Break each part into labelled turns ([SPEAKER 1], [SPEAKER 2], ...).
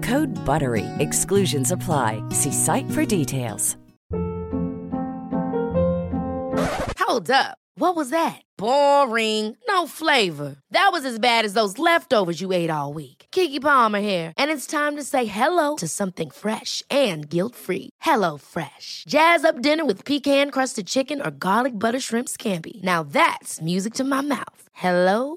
[SPEAKER 1] Code BUTTERY. Exclusions apply. See site for details.
[SPEAKER 2] Hold up. What was that? Boring. No flavor. That was as bad as those leftovers you ate all week. Kiki Palmer here, and it's time to say hello to something fresh and guilt-free. Hello Fresh. Jazz up dinner with pecan-crusted chicken or garlic butter shrimp scampi. Now that's music to my mouth. Hello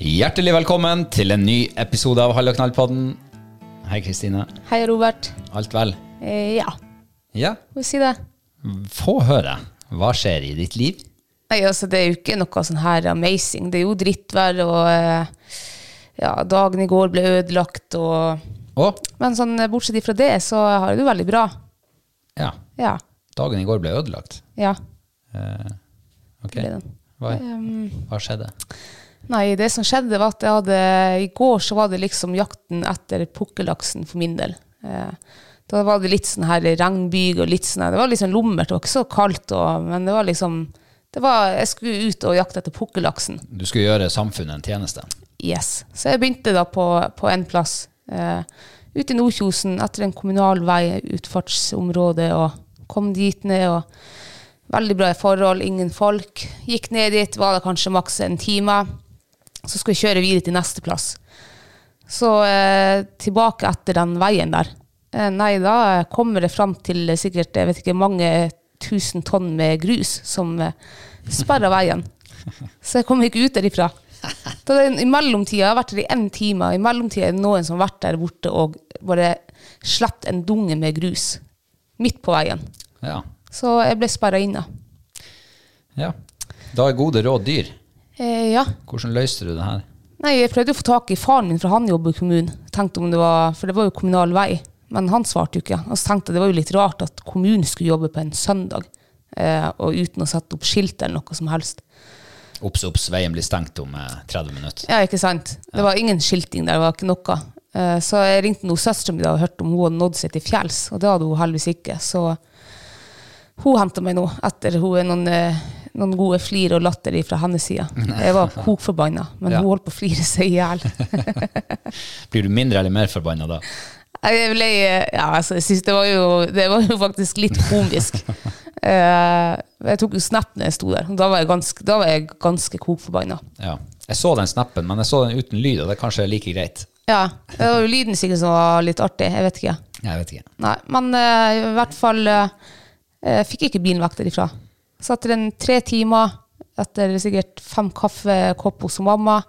[SPEAKER 3] Hjertelig velkommen til en ny episode av Halla knall-podden. Hei, Kristine.
[SPEAKER 4] Hei, Robert.
[SPEAKER 3] Alt vel?
[SPEAKER 4] Eh, ja,
[SPEAKER 3] Ja.
[SPEAKER 4] hva sier det?
[SPEAKER 3] Få høre. Hva skjer i ditt liv?
[SPEAKER 4] Nei, altså, det er jo ikke noe sånn her amazing. Det er jo drittvær, og eh, ja, dagen i går ble ødelagt, og
[SPEAKER 3] Å,
[SPEAKER 4] Men sånn, eh, bortsett ifra det, så har jeg det jo veldig bra.
[SPEAKER 3] ja.
[SPEAKER 4] Ja.
[SPEAKER 3] Dagen i går ble ødelagt.
[SPEAKER 4] Ja.
[SPEAKER 3] Eh, ok.
[SPEAKER 4] Det er det.
[SPEAKER 3] Hva,
[SPEAKER 4] Um,
[SPEAKER 3] hva skjedde?
[SPEAKER 4] nei, det som skjedde, var at jeg hadde I går så var det liksom jakten etter pukkellaksen for min del. Eh, da var det litt sånn her regnbyger og litt sånn her- Det var litt sånn lummert og ikke så kaldt, og, men det var liksom det var, Jeg skulle ut og jakte etter pukkellaksen.
[SPEAKER 3] Du skulle gjøre samfunnet en tjeneste.
[SPEAKER 4] Yes. Så jeg begynte da på, på en plass eh, ute i Nordkjosen, etter en kommunal vei, utfartsområde, og kom dit ned. og Veldig bra forhold, ingen folk. Gikk ned dit, var det kanskje maks en time. Så skulle jeg kjøre videre til neste plass. Så eh, tilbake etter den veien der. Eh, nei, da kommer det fram til sikkert jeg vet ikke, mange tusen tonn med grus som eh, sperrer veien. Så jeg kom ikke ut derifra. Da den, I mellomtida, jeg har vært der i én time, og i mellomtida er det noen som har vært der borte og bare slett en dunge med grus midt på veien.
[SPEAKER 3] Ja.
[SPEAKER 4] Så jeg ble sperra inne.
[SPEAKER 3] ja. Da er gode råd dyr.
[SPEAKER 4] Eh, ja.
[SPEAKER 3] Hvordan løste du det her?
[SPEAKER 4] Nei, jeg prøvde å få tak i faren min, for han jobber i kommunen. Tenkte om det var, For det var jo kommunal vei. Men han svarte jo ikke. Og så tenkte jeg det var jo litt rart at kommunen skulle jobbe på en søndag, eh, og uten å sette opp skilt eller noe som helst.
[SPEAKER 3] Ops, ops, veien blir stengt om eh, 30 minutter.
[SPEAKER 4] Ja, ikke sant. Det var ingen skilting der, det var ikke noe. Eh, Så jeg ringte noen søsteren min da og hørte om hun hadde nådd seg til fjells, og det hadde hun heldigvis ikke. Så hun hentet meg nå, etter hun er noen, eh, noen gode flir og latter fra hennes side. Jeg var kokforbanna, men
[SPEAKER 3] Ja.
[SPEAKER 4] hun holdt på å flire seg i hjel.
[SPEAKER 3] Blir du mindre eller mer forbanna da?
[SPEAKER 4] Jeg ble, ja, altså, jeg synes det var jo, det var jo faktisk litt komisk. Eh, jeg tok jo snap når jeg sto der, og da var jeg ganske, da var jeg ganske kokforbanna.
[SPEAKER 3] Ja. Jeg så den snappen, men jeg så den uten lyd, og det er kanskje like greit.
[SPEAKER 4] Ja, det var jo lyden sikkert som var litt artig, jeg vet ikke.
[SPEAKER 3] Jeg vet ikke.
[SPEAKER 4] Nei, men eh, i hvert fall eh, eh, fikk jeg ikke bilen vekk derifra. Så etter en tre timer, etter sikkert fem kaffekopper hos mamma,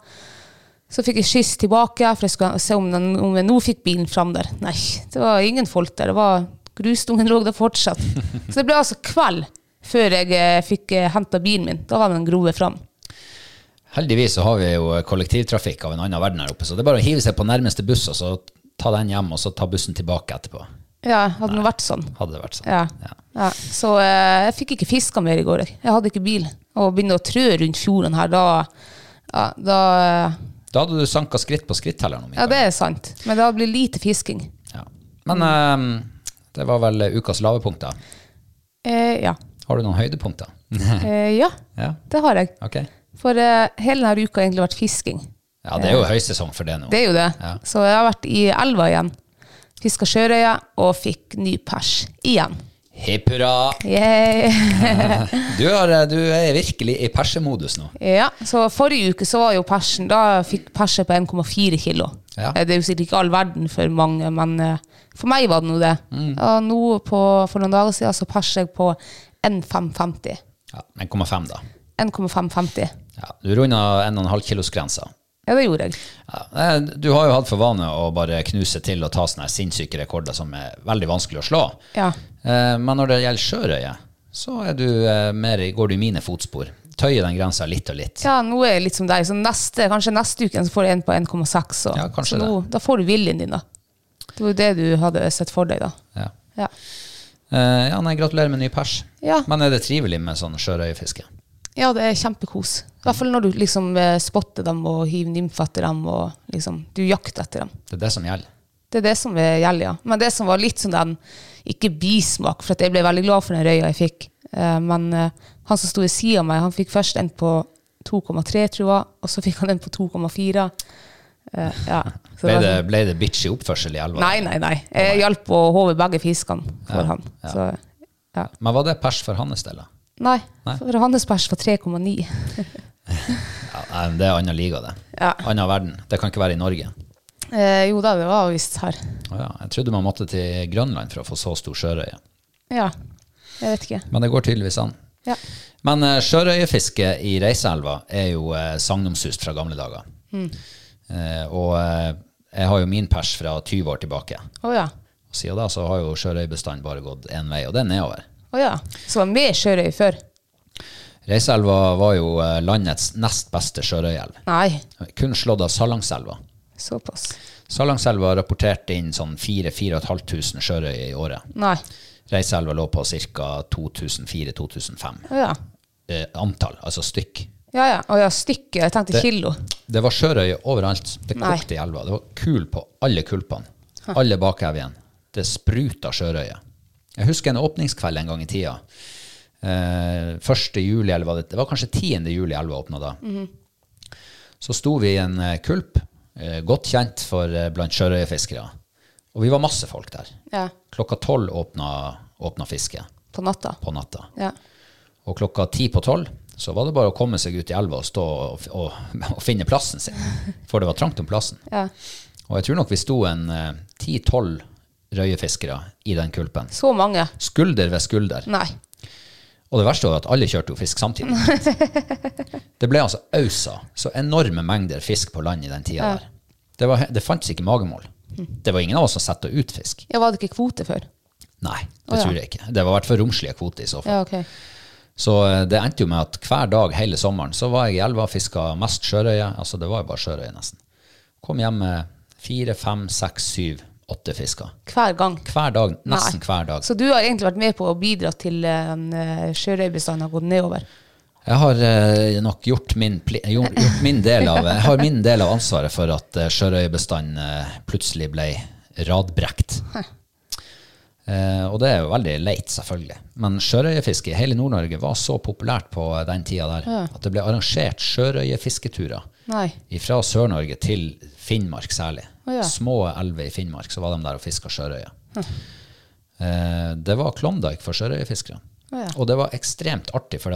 [SPEAKER 4] så fikk jeg skyss tilbake, for jeg skulle se om, den, om jeg nå fikk bilen fram der. Nei, det var ingen folk der. Det var grusdungen lå der fortsatt. Så det ble altså kveld før jeg eh, fikk eh, henta bilen min. Da var den groet fram.
[SPEAKER 3] Heldigvis så har vi jo kollektivtrafikk av en annen verden her oppe, så det er bare å hive seg på nærmeste buss, og så ta den hjem, og så ta bussen tilbake etterpå.
[SPEAKER 4] Ja, hadde det vært sånn.
[SPEAKER 3] Hadde det vært sånn.
[SPEAKER 4] Ja.
[SPEAKER 3] Ja.
[SPEAKER 4] Ja. Så eh, jeg fikk ikke fiska mer i går. Jeg hadde ikke bil. Og å begynne å trø rundt fjorden her, da ja, da, eh,
[SPEAKER 3] Da hadde du sanka skritt på skrittelleren. om
[SPEAKER 4] ja,
[SPEAKER 3] ikke
[SPEAKER 4] det er sant. Men da blir det lite fisking.
[SPEAKER 3] annet. Ja. Men ehm, det var vel ukas lavepunkter.
[SPEAKER 4] Eh, ja.
[SPEAKER 3] Har du noen høydepunkter?
[SPEAKER 4] Eh, ja,
[SPEAKER 3] Ja,
[SPEAKER 4] det har jeg.
[SPEAKER 3] ok.
[SPEAKER 4] For eh, hele denne uka har egentlig vært fisking.
[SPEAKER 3] Ja, det er jo høysesong for det nå.
[SPEAKER 4] Det er jo det.
[SPEAKER 3] Ja.
[SPEAKER 4] Så jeg har vært i elva igjen. Fiska sjørøye og fikk ny pers igjen.
[SPEAKER 3] Hipp hurra!
[SPEAKER 4] Yay.
[SPEAKER 3] Du, har, eh, du er virkelig i persemodus nå.
[SPEAKER 4] ja, så forrige uke så var jo persen Da fikk persen på 1,4 kilo.
[SPEAKER 3] Ja.
[SPEAKER 4] Eh, Det er jo sikkert ikke all verden for mange, men eh, for meg var det nå det.
[SPEAKER 3] Mm.
[SPEAKER 4] Og nå på, for noen dager siden så perset jeg på 1,550.
[SPEAKER 3] Ja, 1,5 da.
[SPEAKER 4] 1,550.
[SPEAKER 3] Ja, du runda 1,5 kilos grensa.
[SPEAKER 4] Ja, det gjorde jeg.
[SPEAKER 3] Ja, eh, du har jo hatt for vane å bare knuse til og ta sånne her sinnssyke rekorder som er veldig vanskelig å slå.
[SPEAKER 4] Ja.
[SPEAKER 3] Eh, Men når det gjelder sjørøye, så er du eh, mer, i- går du i mine fotspor. Tøyer den grensa litt og litt.
[SPEAKER 4] Ja, nå er jeg litt som deg. Så neste, kanskje neste uke så får du en på 1,6. Så,
[SPEAKER 3] Ja, kanskje
[SPEAKER 4] så nå, da får du viljen din, da. Det var jo det du hadde sett for deg, da.
[SPEAKER 3] Ja.
[SPEAKER 4] Ja.
[SPEAKER 3] Eh, ja, nei, gratulerer med ny pers.
[SPEAKER 4] Ja.
[SPEAKER 3] Men er det trivelig med sånn sjørøyefiske?
[SPEAKER 4] ja, det er kjempekos. I hvert fall når du liksom eh, spotter dem og hiver nymf etter dem, og liksom du jakter etter dem.
[SPEAKER 3] Det er det som gjelder.
[SPEAKER 4] Det er det som er gjelder, ja. Men det som var litt sånn den, ikke bismak, for at jeg ble veldig glad for den røya jeg fikk. Eh, men eh, han som sto i siden av meg, han fikk først en på 2,3, tror jeg, og så fikk han en på 2,4. Eh, ja. Så
[SPEAKER 3] Ble
[SPEAKER 4] var
[SPEAKER 3] det,
[SPEAKER 4] sånn-
[SPEAKER 3] ble det bitchy oppførsel i elva?
[SPEAKER 4] Nei, nei, nei. Jeg hjalp å håve begge fiskene for han. Så, ja.
[SPEAKER 3] Men var det pers for hans del? da?
[SPEAKER 4] Nei,
[SPEAKER 3] Nei.
[SPEAKER 4] for hans pers var 3,9.
[SPEAKER 3] Ja, nei, men det er annen liga, det.
[SPEAKER 4] Ja.
[SPEAKER 3] Annen verden. Det kan ikke være i Norge.
[SPEAKER 4] Eh, jo da, det var visst her.
[SPEAKER 3] Å Ja, jeg trodde man måtte til Grønland for å få så stor sjørøye.
[SPEAKER 4] Ja, jeg vet ikke.
[SPEAKER 3] Men det går tydeligvis an.
[SPEAKER 4] Ja.
[SPEAKER 3] Men eh, sjørøyefiske i Reiseelva er jo eh, sagnomsust fra gamle dager. Eh, og eh, jeg har jo min pers fra 20 år tilbake.
[SPEAKER 4] Å ja.
[SPEAKER 3] Og siden da så har jo sjørøyebestanden bare gått én vei, og det er nedover.
[SPEAKER 4] Å ja. Så var det mer sjørøy før?
[SPEAKER 3] Reiseelva var jo eh, landets nest beste sjørøyelv.
[SPEAKER 4] Nei,
[SPEAKER 3] Kun slått av Salangselva.
[SPEAKER 4] såpass.
[SPEAKER 3] Salangselva rapporterte inn sånn 4000-4500 sjørøye i året.
[SPEAKER 4] Nei.
[SPEAKER 3] Reiseelva lå på ca. 2004-2005.
[SPEAKER 4] Å ja.
[SPEAKER 3] Eh, antall, altså stykk.
[SPEAKER 4] Ja ja. Å ja, stykket. Jeg tenkte
[SPEAKER 3] Det-
[SPEAKER 4] kilo.
[SPEAKER 3] Det var sjørøye overalt. Det
[SPEAKER 4] Nei.
[SPEAKER 3] kokte i elva. Det var kul på alle kulpene. Alle bakevjen. Det spruta sjørøye. Jeg husker en åpningskveld en gang i tida. Eh, 1. juli, eller var det, det var kanskje 10. juli elva åpna da. Så sto vi i en eh, kulp, eh, godt kjent for eh, blant sjørøyefiskere. Og vi var masse folk der.
[SPEAKER 4] Ja.
[SPEAKER 3] Klokka tolv åpna, åpna fisket
[SPEAKER 4] På natta.
[SPEAKER 3] på natta.
[SPEAKER 4] Ja.
[SPEAKER 3] Og klokka ti på tolv så var det bare å komme seg ut i elva og stå og, og, og finne plassen sin. For det var trangt om plassen.
[SPEAKER 4] ja.
[SPEAKER 3] Og jeg tror nok vi sto en eh, ti-tolv røyefiskere i den kulpen.
[SPEAKER 4] Så mange.
[SPEAKER 3] Skulder ved skulder.
[SPEAKER 4] Nei.
[SPEAKER 3] Og det verste var at alle kjørte jo fisk samtidig. Det ble altså ausa så enorme mengder fisk på land i den tida der. Det, var, det fantes ikke magemål. Det var ingen av oss som satte ut fisk.
[SPEAKER 4] Ja, var det ikke kvote før?
[SPEAKER 3] Nei,
[SPEAKER 4] Å
[SPEAKER 3] det
[SPEAKER 4] ja.
[SPEAKER 3] tror jeg ikke. Det var i hvert fall romslige kvoter i så fall.
[SPEAKER 4] Ja, ok.
[SPEAKER 3] Så eh, det endte jo med at hver dag hele sommeren så var jeg i elva og fiska mest sjørøye. Altså det var jo bare sjørøye, nesten. Kom hjem med fire, fem, seks, syv, åtte fisker.
[SPEAKER 4] Hver gang.
[SPEAKER 3] Hver dag, nesten
[SPEAKER 4] Nei.
[SPEAKER 3] hver dag.
[SPEAKER 4] Så du har egentlig vært med på å bidra til eh, den eh, sjørøybestanden har gått nedover?
[SPEAKER 3] Jeg har eh, nok gjort min, pli, gjort, gjort min, del, av, jeg har min del av ansvaret for at eh, sjørøyebestanden eh, plutselig ble radbrekt. Eh, og det er jo veldig leit, selvfølgelig. Men sjørøyefiske i hele Nord-Norge var så populært på eh, den tida der at det ble arrangert sjørøyefisketurer
[SPEAKER 4] Nei.
[SPEAKER 3] fra Sør-Norge til Finnmark særlig.
[SPEAKER 4] Å ja. Hm.
[SPEAKER 3] Små elver i Finnmark, så var de der og fiska sjørøye. Eh, det var Klondyke for sjørøyefiskere.
[SPEAKER 4] Å ja.
[SPEAKER 3] Og det var ekstremt artig, for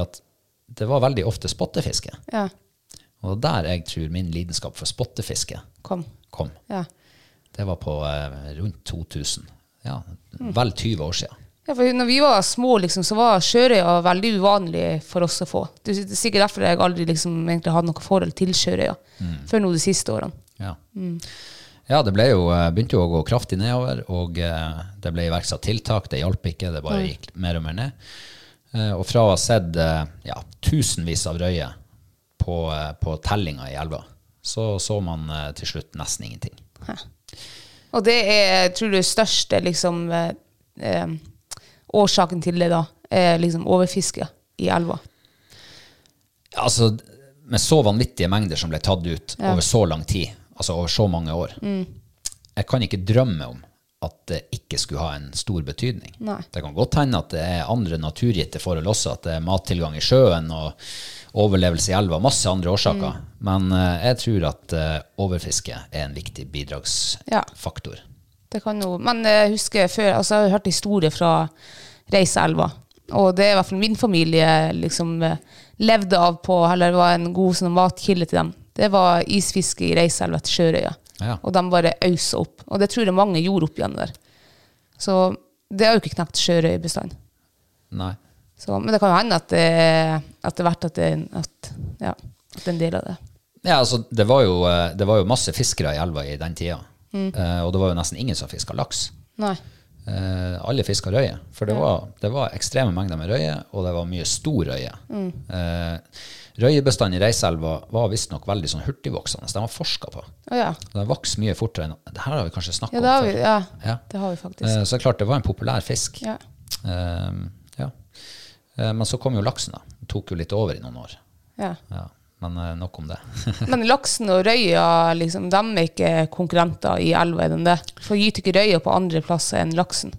[SPEAKER 3] det var veldig ofte spottefiske.
[SPEAKER 4] Ja.
[SPEAKER 3] Og det er der jeg tror min lidenskap for spottefiske
[SPEAKER 4] Kom.
[SPEAKER 3] kom.
[SPEAKER 4] Ja.
[SPEAKER 3] Det var på eh, rundt 2000. Ja, vel 20 år siden.
[SPEAKER 4] Ja, for når vi var små, liksom, så var sjørøya veldig uvanlig for oss å få. Det er sikkert derfor jeg aldri liksom, egentlig hadde noe forhold til sjørøya før nå de siste årene.
[SPEAKER 3] Ja. Ja, det ble jo, eh, begynte jo å gå kraftig nedover, og eh, det ble iverksatt tiltak. Det hjalp ikke, det bare gikk mer og mer ned. Eh, Og fra å ha sett eh, ja, tusenvis av røye på, eh, på tellinga i elva, så så man eh, til slutt nesten ingenting.
[SPEAKER 4] Og det er, tror du, største liksom, eh, eh, årsaken til det, da, er liksom overfiske i elva.
[SPEAKER 3] Altså, med så vanvittige mengder som ble tatt ut over så lang tid, altså over så mange år,
[SPEAKER 4] Mm.
[SPEAKER 3] jeg kan ikke drømme om at det ikke skulle ha en stor betydning.
[SPEAKER 4] Nei.
[SPEAKER 3] Det kan godt hende at det er andre naturgitte forhold også, at det er mattilgang i sjøen og overlevelse i elva, masse andre årsaker.
[SPEAKER 4] Mm.
[SPEAKER 3] Men eh, jeg tror at eh, overfiske er en viktig
[SPEAKER 4] Ja.
[SPEAKER 3] bidragsfaktor.
[SPEAKER 4] Det kan jo, men jeg husker før, altså jeg har hørt historier fra Reiseelva, og det er i hvert fall min familie liksom eh, levde av på, eller var en god sånn matkilde til dem. Det var isfiske i Reiseelva til Sjørøya,
[SPEAKER 3] Ja.
[SPEAKER 4] og de bare øsa opp. Og det tror jeg mange gjorde opp igjen der. Så det har jo ikke knekt Sjørøyebestanden.
[SPEAKER 3] Nei.
[SPEAKER 4] Så, men det kan jo hende at det, er- at det er verdt at det, er- at, ja, at det er en del av det.
[SPEAKER 3] Ja, altså, det var, jo, eh, det var jo masse fiskere i elva i den tida,
[SPEAKER 4] Mm.
[SPEAKER 3] eh, og det var jo nesten ingen som fiska laks.
[SPEAKER 4] Nei.
[SPEAKER 3] Eh, alle fiska røye. For det, var, det var ekstreme mengder med røye, og det var mye stor røye.
[SPEAKER 4] Mm.
[SPEAKER 3] Eh, røyebestanden i Reiselva var visstnok veldig sånn hurtigvoksende. så Den var forska på.
[SPEAKER 4] Å ja.
[SPEAKER 3] Den vokste mye fortere enn Det her har vi kanskje snakka
[SPEAKER 4] Ja, det har
[SPEAKER 3] om
[SPEAKER 4] vi,
[SPEAKER 3] før.
[SPEAKER 4] ja,
[SPEAKER 3] Ja.
[SPEAKER 4] det har vi faktisk.
[SPEAKER 3] Eh, så det er klart, det var en populær fisk.
[SPEAKER 4] Ja.
[SPEAKER 3] Eh, ja. Eh, men så kom jo laksen, da. Den tok jo litt over i noen år.
[SPEAKER 4] Ja.
[SPEAKER 3] Ja. Men eh, nok om det.
[SPEAKER 4] Men laksen og røya, liksom, de er ikke konkurrenter i elva, er de det? For gyter ikke røya på andre plasser enn laksen?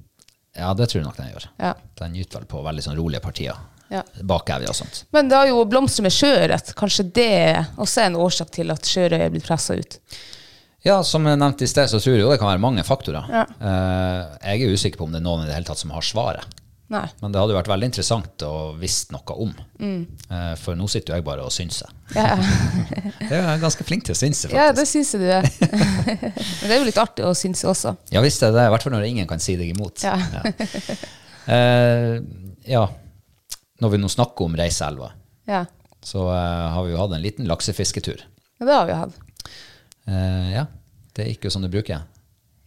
[SPEAKER 3] ja, det tror jeg nok den gjør.
[SPEAKER 4] Ja.
[SPEAKER 3] Den gyter vel på veldig sånn rolige partier.
[SPEAKER 4] Ja.
[SPEAKER 3] Bak elva og sånt.
[SPEAKER 4] Men det har jo blomster med sjøørret. Kanskje det også er en årsak til at sjørøya er blitt pressa ut?
[SPEAKER 3] Ja, som jeg nevnte i sted, så tror jeg jo det kan være mange faktorer.
[SPEAKER 4] Ja.
[SPEAKER 3] Eh, jeg er usikker på om det er noen i det hele tatt som har svaret.
[SPEAKER 4] Nei.
[SPEAKER 3] Men det hadde jo vært veldig interessant å visst noe om.
[SPEAKER 4] Mm.
[SPEAKER 3] Eh, for nå sitter jo jeg bare og synser.
[SPEAKER 4] Ja,
[SPEAKER 3] Jeg er ganske flink til å synse,
[SPEAKER 4] ja
[SPEAKER 3] faktisk.
[SPEAKER 4] det syns jeg du er. Men det er jo litt artig å synes også.
[SPEAKER 3] Ja, visst er det. I hvert fall når ingen kan si deg imot.
[SPEAKER 4] Ja.
[SPEAKER 3] Eh, ja. Når vi nå snakker om Reiseelva,
[SPEAKER 4] Ja.
[SPEAKER 3] så eh, har vi jo hatt en liten laksefisketur.
[SPEAKER 4] ja, det har vi hatt.
[SPEAKER 3] Eh, ja, det gikk jo som det bruker.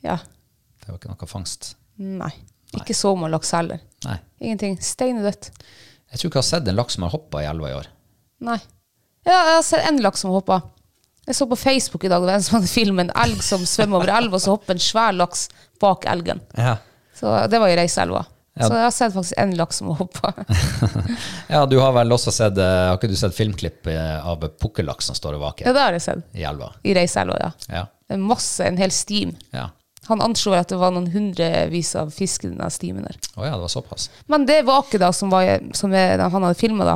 [SPEAKER 4] Ja.
[SPEAKER 3] Det var ikke noe fangst.
[SPEAKER 4] Nei. Ikke så mye laks heller.
[SPEAKER 3] Nei.
[SPEAKER 4] Ingenting. Steinedødt.
[SPEAKER 3] Jeg tror ikke jeg har sett en laks som har hoppa i elva i år.
[SPEAKER 4] Nei. Ja, jeg har sett en laks som hoppa. Jeg så på Facebook i dag det var en som hadde filmet en elg som svømmer over elva, og så hopper en svær laks bak elgen.
[SPEAKER 3] Ja.
[SPEAKER 4] Så Det var i Reiseelva.
[SPEAKER 3] Ja.
[SPEAKER 4] Så jeg har sett faktisk en laks som hoppa.
[SPEAKER 3] Ja, du har vel også sett eh, Har ikke du sett filmklipp eh, av pukkellaks som står og
[SPEAKER 4] Ja,
[SPEAKER 3] vaker
[SPEAKER 4] det har jeg sett.
[SPEAKER 3] i elva?
[SPEAKER 4] I Reiseelva, ja.
[SPEAKER 3] Ja.
[SPEAKER 4] Det er masse, en hel stim.
[SPEAKER 3] ja.
[SPEAKER 4] Han anslo at det var noen hundrevis av fisk i den der stimen der.
[SPEAKER 3] Å ja, det var såpass.
[SPEAKER 4] Men det vaket da, som, var, som er, han hadde filma, da,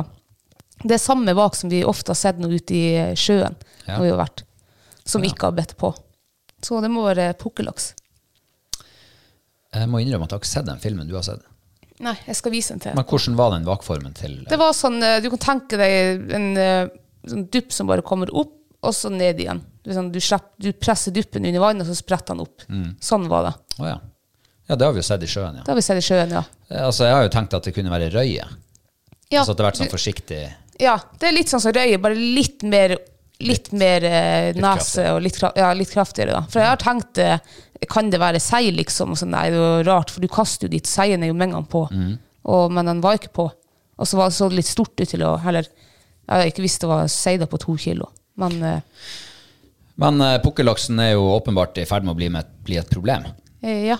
[SPEAKER 4] det er samme vak som vi ofte har sett nå ute i sjøen,
[SPEAKER 3] Ja.
[SPEAKER 4] når vi har vært, som ikke har bedt på. Så det må være pukkellaks.
[SPEAKER 3] Jeg må innrømme at jeg har ikke sett den filmen du har sett.
[SPEAKER 4] Nei, jeg skal vise den til
[SPEAKER 3] Men
[SPEAKER 4] deg.
[SPEAKER 3] hvordan var den vakformen til
[SPEAKER 4] Det var sånn, eh, Du kan tenke deg en eh, sånn dupp som bare kommer opp, og så ned igjen. Det er sånn, du, slapp, du presser duppen under vannet, og så spretter den opp.
[SPEAKER 3] Mm.
[SPEAKER 4] Sånn var det.
[SPEAKER 3] Å ja. ja, det har vi jo sett i sjøen, ja.
[SPEAKER 4] Det har vi sett i sjøen, ja.
[SPEAKER 3] Altså, jeg har jo tenkt at det kunne være røye.
[SPEAKER 4] Ja,
[SPEAKER 3] Altså at det har vært sånn
[SPEAKER 4] du-
[SPEAKER 3] forsiktig
[SPEAKER 4] ja, det er litt sånn som røye, bare litt mer, litt mer eh, nese
[SPEAKER 3] kraftigere.
[SPEAKER 4] og litt, kra- ja, litt kraftigere. da. For jeg har tenkt eh, Kan det være sei, liksom? Og så, nei, det er jo rart, for du kaster jo dit seien er jo med en gang på. Og, men den var ikke på. Og så var så det litt stort ut til å heller Jeg har ikke visst det var sei da på to kilo. Men eh,
[SPEAKER 3] Men eh, pukkellaksen er jo åpenbart i ferd med å bli, med, bli et problem.
[SPEAKER 4] Eh, Ja.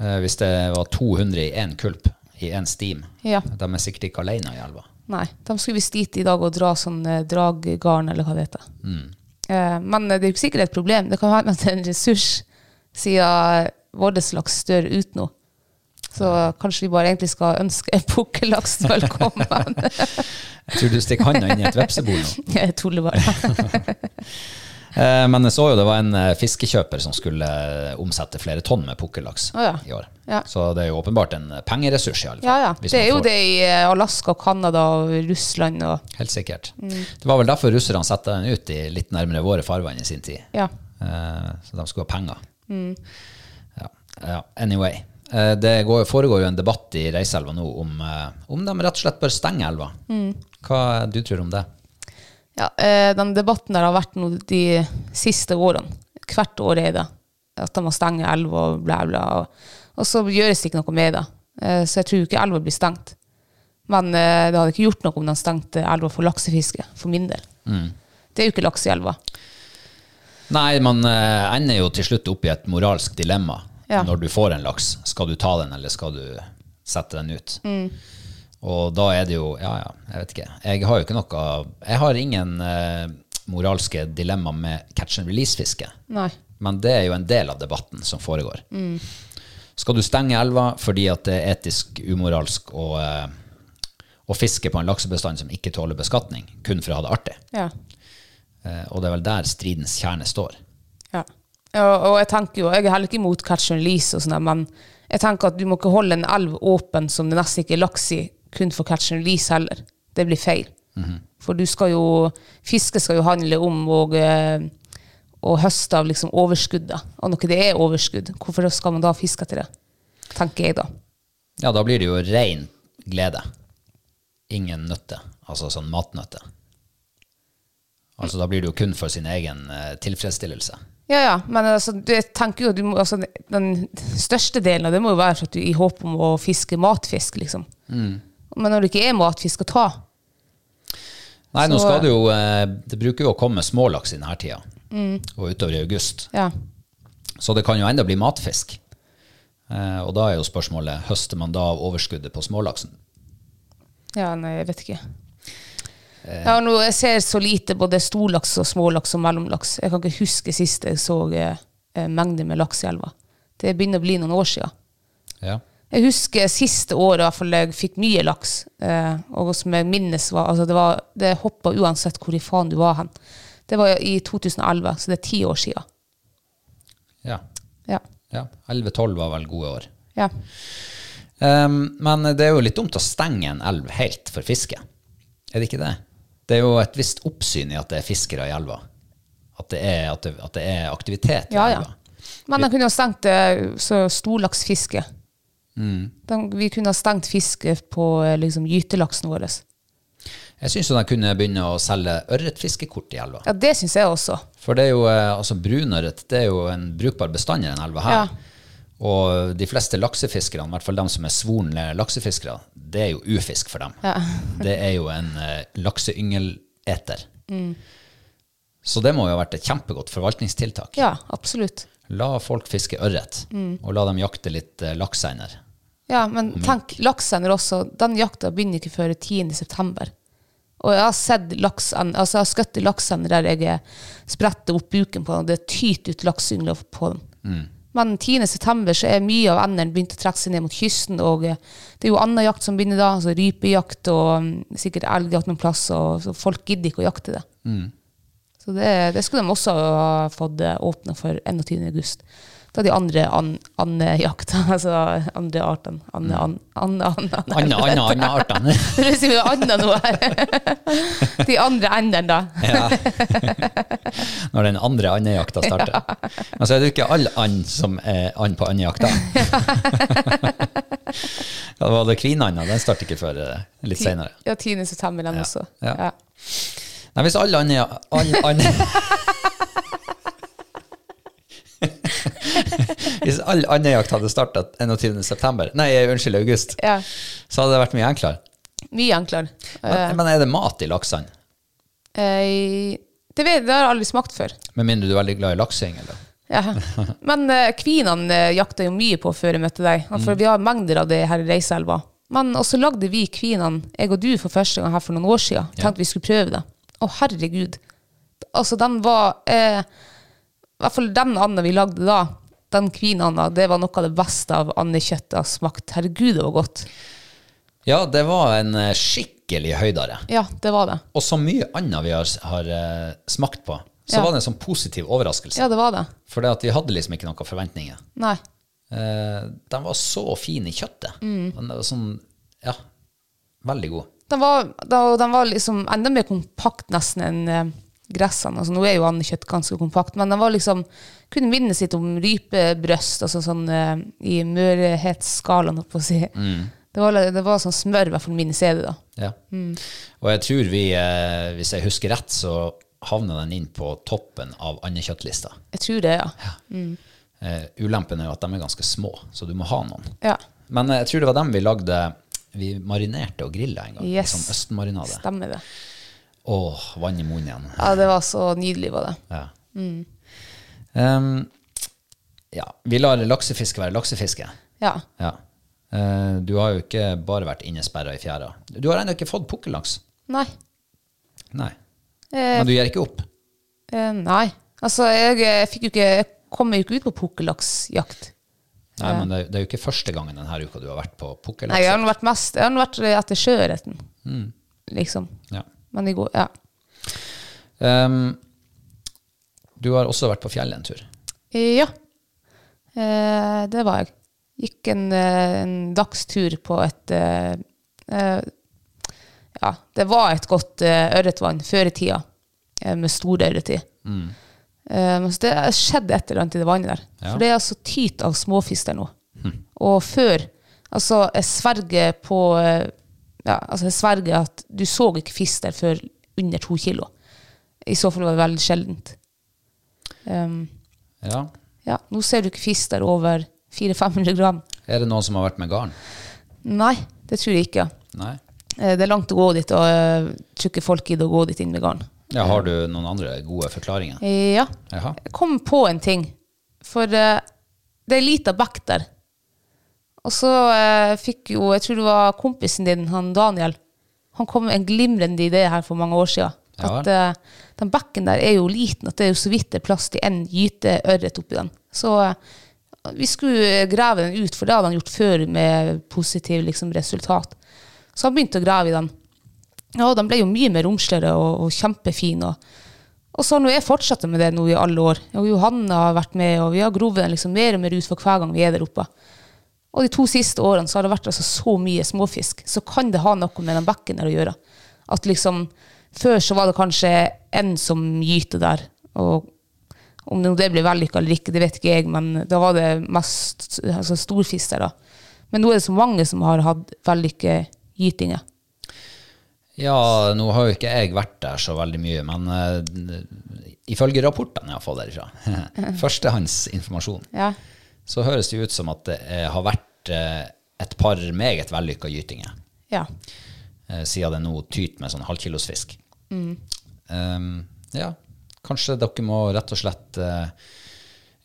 [SPEAKER 3] Eh, hvis det var 200 i én kulp, i én steam.
[SPEAKER 4] Ja.
[SPEAKER 3] De er sikkert ikke alene i elva.
[SPEAKER 4] Nei, de skulle visst dit i dag og dra sånn eh, draggarn, eller hva det heter.
[SPEAKER 3] Mm.
[SPEAKER 4] Eh, men det er jo ikke sikkert et problem. Det kan være at det er en ressurs, siden vår slags dør ut nå. Så kanskje vi bare egentlig skal ønske pukkellaks velkommen.
[SPEAKER 3] Jeg tror du stikker handa inn i et vepsebol nå.
[SPEAKER 4] Jeg tuller bare.
[SPEAKER 3] Eh, Men jeg så jo det var en eh, fiskekjøper som skulle eh, omsette flere tonn med pukkellaks
[SPEAKER 4] Å ja.
[SPEAKER 3] i år.
[SPEAKER 4] Ja.
[SPEAKER 3] Så det er jo åpenbart en eh, pengeressurs, i alle fall.
[SPEAKER 4] Ja, ja.
[SPEAKER 3] hvis
[SPEAKER 4] Det er
[SPEAKER 3] man
[SPEAKER 4] jo
[SPEAKER 3] får-
[SPEAKER 4] det i eh, Alaska og Canada og Russland og
[SPEAKER 3] Helt sikkert.
[SPEAKER 4] Mm.
[SPEAKER 3] Det var vel derfor russerne satte den ut i litt nærmere våre farvann i sin tid.
[SPEAKER 4] Ja. Mm.
[SPEAKER 3] Eh, Så de skulle ha penger. Ja. ja. Anyway. Eh, Det går, foregår jo en debatt i Reiselva nå om, eh, om de rett og slett bør stenge elva.
[SPEAKER 4] Mm.
[SPEAKER 3] Hva du tror om det?
[SPEAKER 4] Ja, eh, den debatten der har vært nå de siste årene. Hvert år er det at de må stenge elva og bla, bla. Og, og så gjøres det ikke noe med det. Eh, så jeg tror ikke elva blir stengt. Men eh, det hadde ikke gjort noe om de stengte elva for laksefiske, for min del. Det er jo ikke laks i elva.
[SPEAKER 3] Nei, man eh, ender jo til slutt opp i et moralsk dilemma
[SPEAKER 4] Ja.
[SPEAKER 3] når du får en laks. Skal du ta den, eller skal du sette den ut? Og da er det jo Ja, ja, jeg vet ikke. Jeg har jo ikke noe Jeg har ingen eh, moralske dilemma med catch and release-fiske.
[SPEAKER 4] Nei.
[SPEAKER 3] Men det er jo en del av debatten som foregår. Skal du stenge elva fordi at det er etisk umoralsk å, eh, å fiske på en laksebestand som ikke tåler beskatning, kun for å ha det artig?
[SPEAKER 4] Ja.
[SPEAKER 3] Eh, og det er vel der stridens kjerne står.
[SPEAKER 4] Ja. Og, og jeg tenker jo, jeg er heller ikke imot catch and release, og sånne, men jeg tenker at du må ikke holde en elv åpen som det nesten ikke er laks i, kun for catch and release heller. Det blir feil. For du skal jo, fiske skal jo handle om og, eh, og høste av liksom overskuddet. Og når det er overskudd, hvorfor skal man da fiske til det? Tenker jeg da.
[SPEAKER 3] Ja, da blir det jo rein glede. Ingen nøtte, altså sånn matnøtte. Altså da blir det jo kun for sin egen eh, tilfredsstillelse.
[SPEAKER 4] Ja, ja, men altså, du- jeg tenker jo at du må, altså, den største delen av det må jo være for at du i håp om å fiske matfisk, liksom. Men når det ikke er matfisk å ta,
[SPEAKER 3] Nei, nå
[SPEAKER 4] Så-
[SPEAKER 3] skal det jo eh, Det bruker jo å komme smålaks i denne tida, og utover i august.
[SPEAKER 4] ja,
[SPEAKER 3] Så det kan jo enda bli matfisk. Eh, og da er jo spørsmålet høster man da av overskuddet på smålaksen?
[SPEAKER 4] ja nei, jeg vet ikke. Ja, nå, jeg ser så lite både storlaks og smålaks og mellomlaks. Jeg kan ikke huske sist jeg så eh, eh, mengder med laks i elva. Det begynner å bli noen år siden.
[SPEAKER 3] Ja.
[SPEAKER 4] Jeg husker siste året i hvert fall jeg fikk mye laks. Eh, og som jeg minnes var altså Det, var- det hoppa uansett hvor i faen du var hen. Det var i 2011, så det er ti år siden.
[SPEAKER 3] ja.
[SPEAKER 4] Ja.
[SPEAKER 3] ja. 11-12 var vel gode år.
[SPEAKER 4] ja.
[SPEAKER 3] Ehm, men det er jo litt dumt å stenge en elv helt for fiske. Er det ikke det? Det er jo et visst oppsyn i at det er fiskere i elva. At det er, at det, at det er aktivitet i
[SPEAKER 4] Ja, ja.
[SPEAKER 3] elva.
[SPEAKER 4] Men de kunne ha stengt eh, så storlaksfiske. De, vi kunne ha stengt fiske på eh, liksom, gytelaksen vår.
[SPEAKER 3] Jeg syns de kunne begynne å selge ørretfiskekort i elva.
[SPEAKER 4] Ja, det syns jeg også.
[SPEAKER 3] For det er jo, eh, altså brunørret det er jo en brukbar bestand i den elva her.
[SPEAKER 4] Ja.
[SPEAKER 3] Og de fleste laksefiskerne, i hvert fall de som er svorne laksefiskere, det er jo ufisk for dem. det er jo en eh, lakseyngeleter.
[SPEAKER 4] Mm.
[SPEAKER 3] Så det må jo ha vært et kjempegodt forvaltningstiltak.
[SPEAKER 4] Ja, Mm. absolutt.
[SPEAKER 3] La folk fiske ørret, og la dem jakte litt eh, lakseiner.
[SPEAKER 4] Ja, men tenk, laksender også, den jakta begynner ikke før 10. september. Og jeg har sett laksen, altså jeg har skutt i laksen der jeg spretter opp buken på den, og det tyter ut lakseyngler på den. Men 10. september så er mye av endene begynt å trekke seg ned mot kysten, og eh, det er jo annen jakt som begynner da, altså rypejakt og mm, sikkert elgjakt noen plass, og så folk gidder ikke å jakte det. Så det, det skulle de også ha fått eh, åpnet for 21. august. Da de andre an, andejakta, altså andre arten. Anne, an, anne, anne, anne.
[SPEAKER 3] Anna, anna, anna artene.
[SPEAKER 4] Det sier jo Anna nå her. De andre enden, da.
[SPEAKER 3] Ja. Når den andre andejakta starter. Men så er det jo ikke all and som er and på andejakta. ja, det var det kvinanda, den starter ikke før eh, litt seinere.
[SPEAKER 4] Ja, 10. september, den også.
[SPEAKER 3] ja.
[SPEAKER 4] Ja.
[SPEAKER 3] Nei, hvis alle andre all, and, Hvis all andejakt hadde starta 21.9., nei, unnskyld, august,
[SPEAKER 4] Ja.
[SPEAKER 3] så hadde det vært mye enklere.
[SPEAKER 4] Mye enklere.
[SPEAKER 3] Men, men er det mat i laksene?
[SPEAKER 4] Eh, det, vet, det har jeg aldri smakt før.
[SPEAKER 3] Med mindre du er veldig glad i lakseyngel. da.
[SPEAKER 4] Ja. Men eh, kvinene eh, jakta jo mye på før jeg møtte deg, for vi har mengder av det her i Reiseelva. Men også lagde vi kvinene, jeg og du, for første gang her for noen år siden. Tenkte vi skulle prøve det. Å, herregud. Altså, den var eh, I hvert fall den anda vi lagde da, den kvinanda, det var noe av det beste av andekjøttet jeg har smakt. Herregud, det var godt.
[SPEAKER 3] Ja, det var en eh, skikkelig høydare.
[SPEAKER 4] Ja, det var det.
[SPEAKER 3] Og så mye annet vi har, har eh, smakt på. Så
[SPEAKER 4] Ja.
[SPEAKER 3] var det en sånn positiv overraskelse.
[SPEAKER 4] Ja, det var det.
[SPEAKER 3] For det at vi hadde liksom ikke noen forventninger.
[SPEAKER 4] Nei.
[SPEAKER 3] Eh, den var så fin i kjøttet.
[SPEAKER 4] Mm.
[SPEAKER 3] Den var sånn, ja, veldig god.
[SPEAKER 4] Den var, da, den var liksom enda mer kompakt nesten enn eh, gressene. Altså, nå er jo andekjøtt ganske kompakt, men den var liksom kunne minnes litt om rypebrøst, altså sånn eh, i mørhetsskalaen, holdt på å si. Det, var, det var sånn smør, i hvert fall minnes jeg det, da.
[SPEAKER 3] Ja.
[SPEAKER 4] Mm.
[SPEAKER 3] Og jeg tror vi, eh, hvis jeg husker rett, så havna den inn på toppen av andekjøttlista.
[SPEAKER 4] Jeg tror det, ja.
[SPEAKER 3] Eh, ulempen er jo at de er ganske små, så du må ha noen.
[SPEAKER 4] Ja,
[SPEAKER 3] Men eh, jeg tror det var dem vi lagde Vi marinerte og grilla en gang. i
[SPEAKER 4] Yes.
[SPEAKER 3] Sånn østenmarinade.
[SPEAKER 4] stemmer det.
[SPEAKER 3] Åh, vann i munnen igjen.
[SPEAKER 4] Ja, det var så nydelig, var det.
[SPEAKER 3] Ja. Ehm, ja, vi lar laksefiske være laksefiske.
[SPEAKER 4] Ja.
[SPEAKER 3] Ja. Eh, du har jo ikke bare vært innesperra i fjæra. Du har ennå ikke fått pukkellaks.
[SPEAKER 4] Nei.
[SPEAKER 3] Nei.
[SPEAKER 4] Eh,
[SPEAKER 3] Men du gir ikke opp.
[SPEAKER 4] eh, nei. Altså, jeg, eh, fikk jo ikke Jeg kom meg jo ikke ut på pukkellaksjakt.
[SPEAKER 3] Nei, men det, det er jo ikke første gangen denne uka du har vært på
[SPEAKER 4] Nei, jeg
[SPEAKER 3] pukkellaks.
[SPEAKER 4] har nå vært mest Jeg har nå vært etter sjøørreten, liksom.
[SPEAKER 3] Ja.
[SPEAKER 4] Men i går Ja.
[SPEAKER 3] Ehm, du har også vært på fjellet en tur.
[SPEAKER 4] Ja. Eh, det var jeg. Gikk en, eh, en dagstur på et eh, eh, Ja, det var et godt eh, ørretvann før i tida, eh, med stor ørret i. Eh, men så det skjedde et eller annet i det vannet der.
[SPEAKER 3] Ja.
[SPEAKER 4] For det er altså tyt av småfisk der nå. Og før Altså, jeg sverger på eh, ja, altså jeg sverger at du så ikke fisk der før under to kilo. I så fall var det veldig sjeldent. Um,
[SPEAKER 3] Ja.
[SPEAKER 4] ja, nå ser du ikke fisk der over 400-500 gram.
[SPEAKER 3] Er det noen som har vært med garn?
[SPEAKER 4] Nei, det tror jeg ikke.
[SPEAKER 3] Nei.
[SPEAKER 4] Eh, Det er langt å gå dit, og jeg tror ikke folk gidder å gå dit inn med garn.
[SPEAKER 3] Ja, har du noen andre gode forklaringer?
[SPEAKER 4] Eh, Ja,
[SPEAKER 3] Jaha.
[SPEAKER 4] jeg kom på en ting. For eh, det er en liten bekk der. Og så eh, fikk jo, jeg tror det var kompisen din, han Daniel, han kom med en glimrende idé her for mange år siden.
[SPEAKER 3] Ja
[SPEAKER 4] At eh, den bekken der er jo liten, at det er jo så vidt det er plass til en gyte ørret oppi den. Så eh, vi skulle grave den ut, for det hadde han gjort før med positiv liksom, resultat. Så han begynte å grave i den. Ja, den ble jo mye mer romsligere og, og kjempefin. Og, og så har nå jeg fortsatt med det nå i alle år. Og Johanna har vært med, og vi har grovet den liksom mer og mer ut for hver gang vi er der oppe. Og de to siste årene så har det vært altså så mye småfisk. Så kan det ha noe med den bekken der å gjøre. At liksom, Før så var det kanskje en som gyter der. og om nå det blir vellykka eller ikke, det vet ikke jeg, men da var det mest altså, storfisk der. da. Men nå er det så mange som har hatt vellykkegytinger.
[SPEAKER 3] Ja, nå har jo ikke jeg vært der så veldig mye, men eh, ifølge rapportene jeg har fått derifra, førstehåndsinformasjon,
[SPEAKER 4] Ja.
[SPEAKER 3] så høres det jo ut som at det eh, har vært eh, et par meget vellykka gytinger,
[SPEAKER 4] Ja.
[SPEAKER 3] eh, siden det nå tyter med sånn halvkilosfisk. Eh, ja, kanskje dere må rett og slett eh,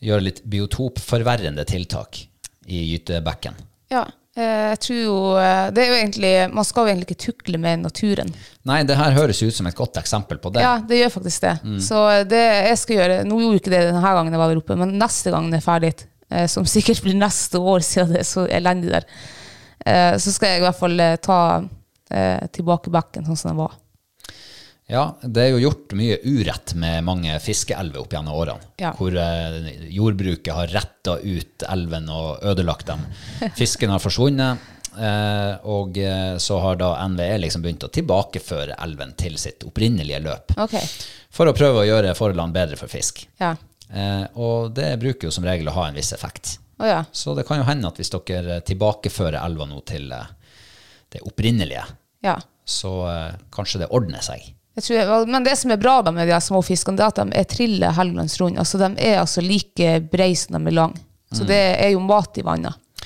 [SPEAKER 3] gjøre litt biotopforverrende tiltak i gytebekken.
[SPEAKER 4] Ja, eh, jeg tror jo eh, det er jo egentlig, Man skal jo egentlig ikke tukle med naturen.
[SPEAKER 3] Nei, det her høres jo ut som et godt eksempel på det.
[SPEAKER 4] Ja, det gjør faktisk det. Så det jeg skal gjøre Nå gjorde jeg ikke det denne gangen jeg var der oppe, men neste gang det er ferdig, eh, som sikkert blir neste år siden det er så elendig der, eh, så skal jeg i hvert fall eh, ta eh, tilbake bekken sånn som den var.
[SPEAKER 3] Ja, det er jo gjort mye urett med mange fiskeelver opp gjennom årene,
[SPEAKER 4] Ja.
[SPEAKER 3] hvor eh, jordbruket har retta ut elven og ødelagt dem. Fisken har forsvunnet, eh, og eh, så har da NVE liksom begynt å tilbakeføre elven til sitt opprinnelige løp,
[SPEAKER 4] Ok,
[SPEAKER 3] for å prøve å gjøre Forland bedre for fisk.
[SPEAKER 4] ja.
[SPEAKER 3] Eh, og det bruker jo som regel å ha en viss effekt.
[SPEAKER 4] Å ja.
[SPEAKER 3] Så det kan jo hende at hvis dere tilbakefører elva nå til eh, det opprinnelige,
[SPEAKER 4] ja.
[SPEAKER 3] så eh, kanskje det ordner seg.
[SPEAKER 4] Jeg tror, jeg- men det som er bra da med de her små fiskene, det er at de er trille helgelandsrund. Altså, de er altså like brede som de er lange. Så det er jo mat i vannet.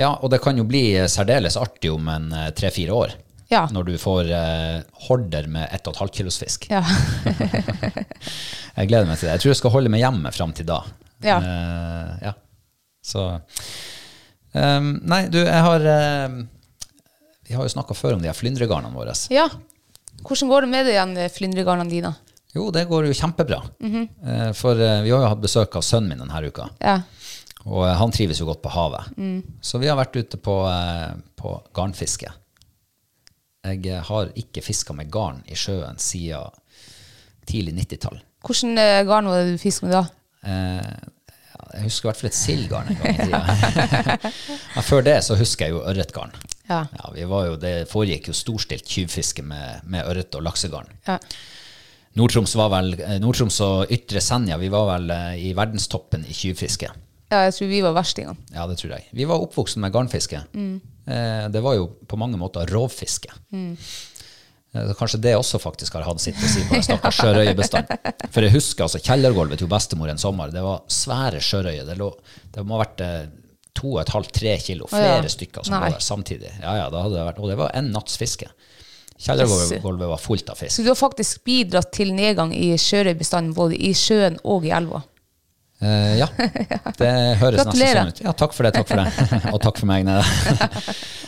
[SPEAKER 3] Ja, og det kan jo bli eh, særdeles artig om en eh, tre-fire år.
[SPEAKER 4] Ja.
[SPEAKER 3] Når du får eh, horder med 1,5 kilos fisk.
[SPEAKER 4] Ja.
[SPEAKER 3] Jeg gleder meg til det. Jeg tror jeg skal holde meg hjemme fram til da.
[SPEAKER 4] Ja.
[SPEAKER 3] Eh, ja. Så eh, Nei, du, jeg har eh, Vi har jo snakka før om de her flyndregarnene våre.
[SPEAKER 4] ja. Hvordan går det med det igjen, flyndregarnene dine?
[SPEAKER 3] Jo, det går jo kjempebra.
[SPEAKER 4] Mhm.
[SPEAKER 3] Eh, for eh, vi har jo hatt besøk av sønnen min denne uka.
[SPEAKER 4] Ja.
[SPEAKER 3] Og eh, han trives jo godt på havet. Så vi har vært ute på, eh, på garnfiske. Jeg eh, har ikke fiska med garn i sjøen siden tidlig 90-tall.
[SPEAKER 4] Hvordan eh, garn var det du fisk med da?
[SPEAKER 3] Eh, ja, jeg husker i hvert fall et sildgarn en gang i tida. Men før det så husker jeg jo ørretgarn.
[SPEAKER 4] Ja.
[SPEAKER 3] Ja, vi var jo, det foregikk jo storstilt tjuvfiske med, med ørret og laksegarn.
[SPEAKER 4] Ja.
[SPEAKER 3] Nord-Troms var vel- eh, Nord-Troms og Ytre Senja vi var vel eh, i verdenstoppen i tjuvfiske.
[SPEAKER 4] ja, jeg tror vi var verstingene.
[SPEAKER 3] Ja, det tror jeg. Vi var oppvokst med garnfiske.
[SPEAKER 4] Mm.
[SPEAKER 3] Eh, det var jo på mange måter rovfiske. Eh, så kanskje det også faktisk har hatt sitt å si på den stakkars sjørøyebestand. For jeg husker altså kjellergulvet til bestemor en sommer. Det var svære sjørøyer. Det, lå, det må ha vært eh, to og et halvt, tre kilo,
[SPEAKER 4] Å ja.
[SPEAKER 3] flere stykker som
[SPEAKER 4] Nei.
[SPEAKER 3] lå der samtidig. Ja, ja, da hadde det vært, og det var en natts fiske. Kjellergulvet var fullt av fisk.
[SPEAKER 4] Så du har faktisk bidratt til nedgang i sjørøybestanden både i sjøen og i elva.
[SPEAKER 3] Eh, ja. Det høres nesten
[SPEAKER 4] Gratulerer.
[SPEAKER 3] sånn ut. Ja, takk for det, takk for det. og takk for meg. Nei, da.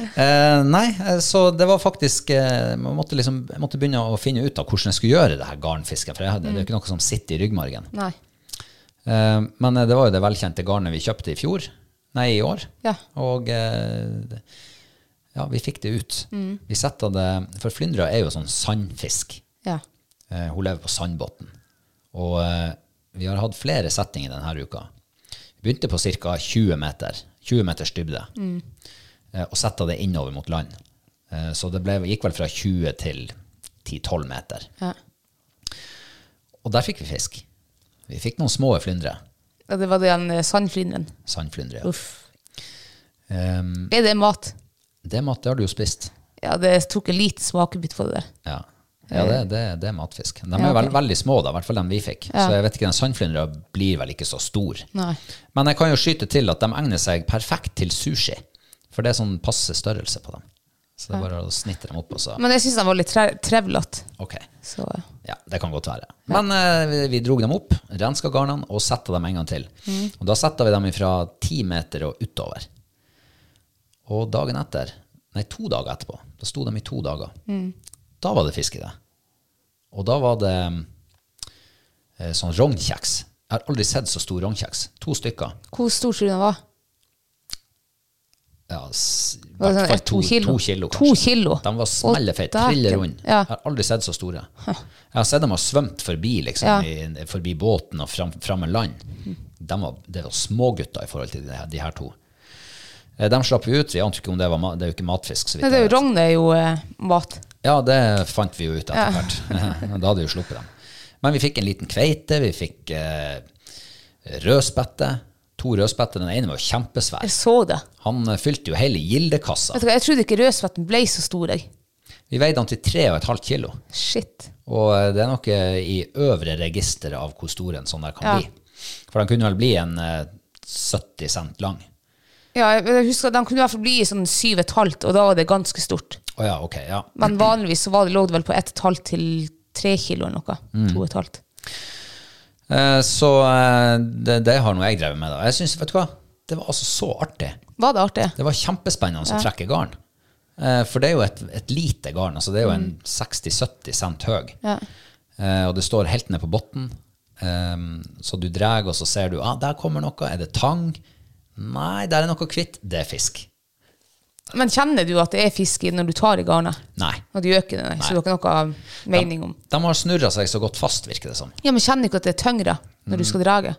[SPEAKER 3] Eh, nei, eh, så det var faktisk eh, man måtte liksom, Jeg måtte begynne å finne ut av hvordan jeg skulle gjøre det her garnfisket. For jeg, hadde- det er
[SPEAKER 4] Mm.
[SPEAKER 3] jo ikke noe som sitter i ryggmargen.
[SPEAKER 4] Nei.
[SPEAKER 3] Eh, men eh, det var jo det velkjente garnet vi kjøpte i fjor. Nei, i år.
[SPEAKER 4] Ja.
[SPEAKER 3] Og eh, det- ja, vi fikk det ut.
[SPEAKER 4] Mm.
[SPEAKER 3] Vi setter det For flyndra er jo sånn sandfisk.
[SPEAKER 4] Ja.
[SPEAKER 3] Eh, Hun lever på Sandbotn. Og eh, vi har hatt flere settinger denne uka. Vi begynte på ca. 20 meter. 20 meters dybde.
[SPEAKER 4] Mm.
[SPEAKER 3] Eh, og setta det innover mot land. Eh, så det ble, gikk vel fra 20 til 10-12 meter.
[SPEAKER 4] Ja.
[SPEAKER 3] Og der fikk vi fisk. Vi fikk noen små flyndre.
[SPEAKER 4] ja. Det var den eh, sandflyndren.
[SPEAKER 3] Sandflyndre. ja.
[SPEAKER 4] Uff.
[SPEAKER 3] Ehm,
[SPEAKER 4] Er det mat?
[SPEAKER 3] det er mat, det har du jo spist.
[SPEAKER 4] Ja, det tok en liten smakebit på det der.
[SPEAKER 3] Ja, ja det, det, det er matfisk. De er
[SPEAKER 4] Eh. Ja, ok.
[SPEAKER 3] vel, veldig små, da, i hvert fall dem vi fikk. Så jeg vet ikke, den sandflyndra blir vel ikke så stor.
[SPEAKER 4] Nei.
[SPEAKER 3] Men jeg kan jo skyte til at de egner seg perfekt til sushi. For det er sånn passe størrelse på dem. Så det er bare å snitte dem opp, og så
[SPEAKER 4] Men jeg syns den var litt tre trevlete.
[SPEAKER 3] OK.
[SPEAKER 4] Så eh,
[SPEAKER 3] Ja, det kan godt være. Men eh, vi, vi drog dem opp, renska garnene og setta dem en gang til. Og da setta vi dem fra ti meter og utover. Og dagen etter, nei, to dager etterpå, da sto de i to dager. Da var det fisk i det. Og da var det eh, sånn rognkjeks. Jeg har aldri sett så stor rognkjeks. To stykker.
[SPEAKER 4] hvor stor tror du den var?
[SPEAKER 3] Ja, s- i
[SPEAKER 4] Var det
[SPEAKER 3] hvert
[SPEAKER 4] sånn
[SPEAKER 3] fall
[SPEAKER 4] et
[SPEAKER 3] to,
[SPEAKER 4] to kilo?
[SPEAKER 3] to kilo,
[SPEAKER 4] To
[SPEAKER 3] kanskje.
[SPEAKER 4] kilo?
[SPEAKER 3] De var
[SPEAKER 4] Å,
[SPEAKER 3] smellefeite,
[SPEAKER 4] dæken.
[SPEAKER 3] trille runde.
[SPEAKER 4] Ja.
[SPEAKER 3] Jeg har aldri sett så store. Jeg har sett dem har svømt forbi, liksom,
[SPEAKER 4] Ja.
[SPEAKER 3] i, forbi båten og fram, fram med land. De var, det var smågutter i forhold til de her, de her to. Eh, Dem slapp vi ut. Vi ante ikke om det var ma- Det er jo ikke matfisk. Så vidt
[SPEAKER 4] Nei, det er
[SPEAKER 3] jeg
[SPEAKER 4] jo
[SPEAKER 3] vet.
[SPEAKER 4] rogn er jo eh, mat.
[SPEAKER 3] Ja, det fant vi jo ut etter hvert. Men da hadde vi jo sluppet dem. Men vi fikk en liten kveite, vi fikk eh, rødspette. To rødspetter. Den ene var jo
[SPEAKER 4] Jeg
[SPEAKER 3] kjempesvær.
[SPEAKER 4] så det.
[SPEAKER 3] Han eh, fylte jo hele gildekassa.
[SPEAKER 4] Vet du hva, Jeg trodde ikke rødsvetten ble så stor, jeg.
[SPEAKER 3] Vi veide han til 3,5 kilo.
[SPEAKER 4] Shit.
[SPEAKER 3] Og eh, det er noe i øvre registeret av hvor stor en sånn der kan
[SPEAKER 4] Ja.
[SPEAKER 3] bli. For den kunne vel bli en eh, 70 cent lang.
[SPEAKER 4] Ja, jeg, jeg husker at Den kunne i hvert fall bli i sånn syv og et halvt, og da var det ganske stort.
[SPEAKER 3] Å ja, ok, ja.
[SPEAKER 4] Men vanligvis så var det, lå det vel på ett og et halvt til tre kilo eller noe. To og et halvt.
[SPEAKER 3] Eh, Så eh, det, det har nå jeg drevet med, da. Jeg synes, vet du hva, det var altså så artig.
[SPEAKER 4] Var det artig?
[SPEAKER 3] Det var kjempespennende å trekke garn. Eh, For det er jo et, et lite garn, altså det er jo en 60-70 cent høy.
[SPEAKER 4] Ja.
[SPEAKER 3] Eh, Og det står helt ned på botten. Ehm, Så du drar, og så ser du, ah, der kommer noe, er det tang? Nei, der er noe kvitt, det er fisk.
[SPEAKER 4] Men kjenner du at det er fisk i når du tar i garnet?
[SPEAKER 3] Nei.
[SPEAKER 4] Og du gjør ikke det, nei. så du har ikke noe mening om
[SPEAKER 3] De har snurra seg så godt fast, virker det som.
[SPEAKER 4] Ja, men kjenner du ikke at det er tyngre når du skal drage?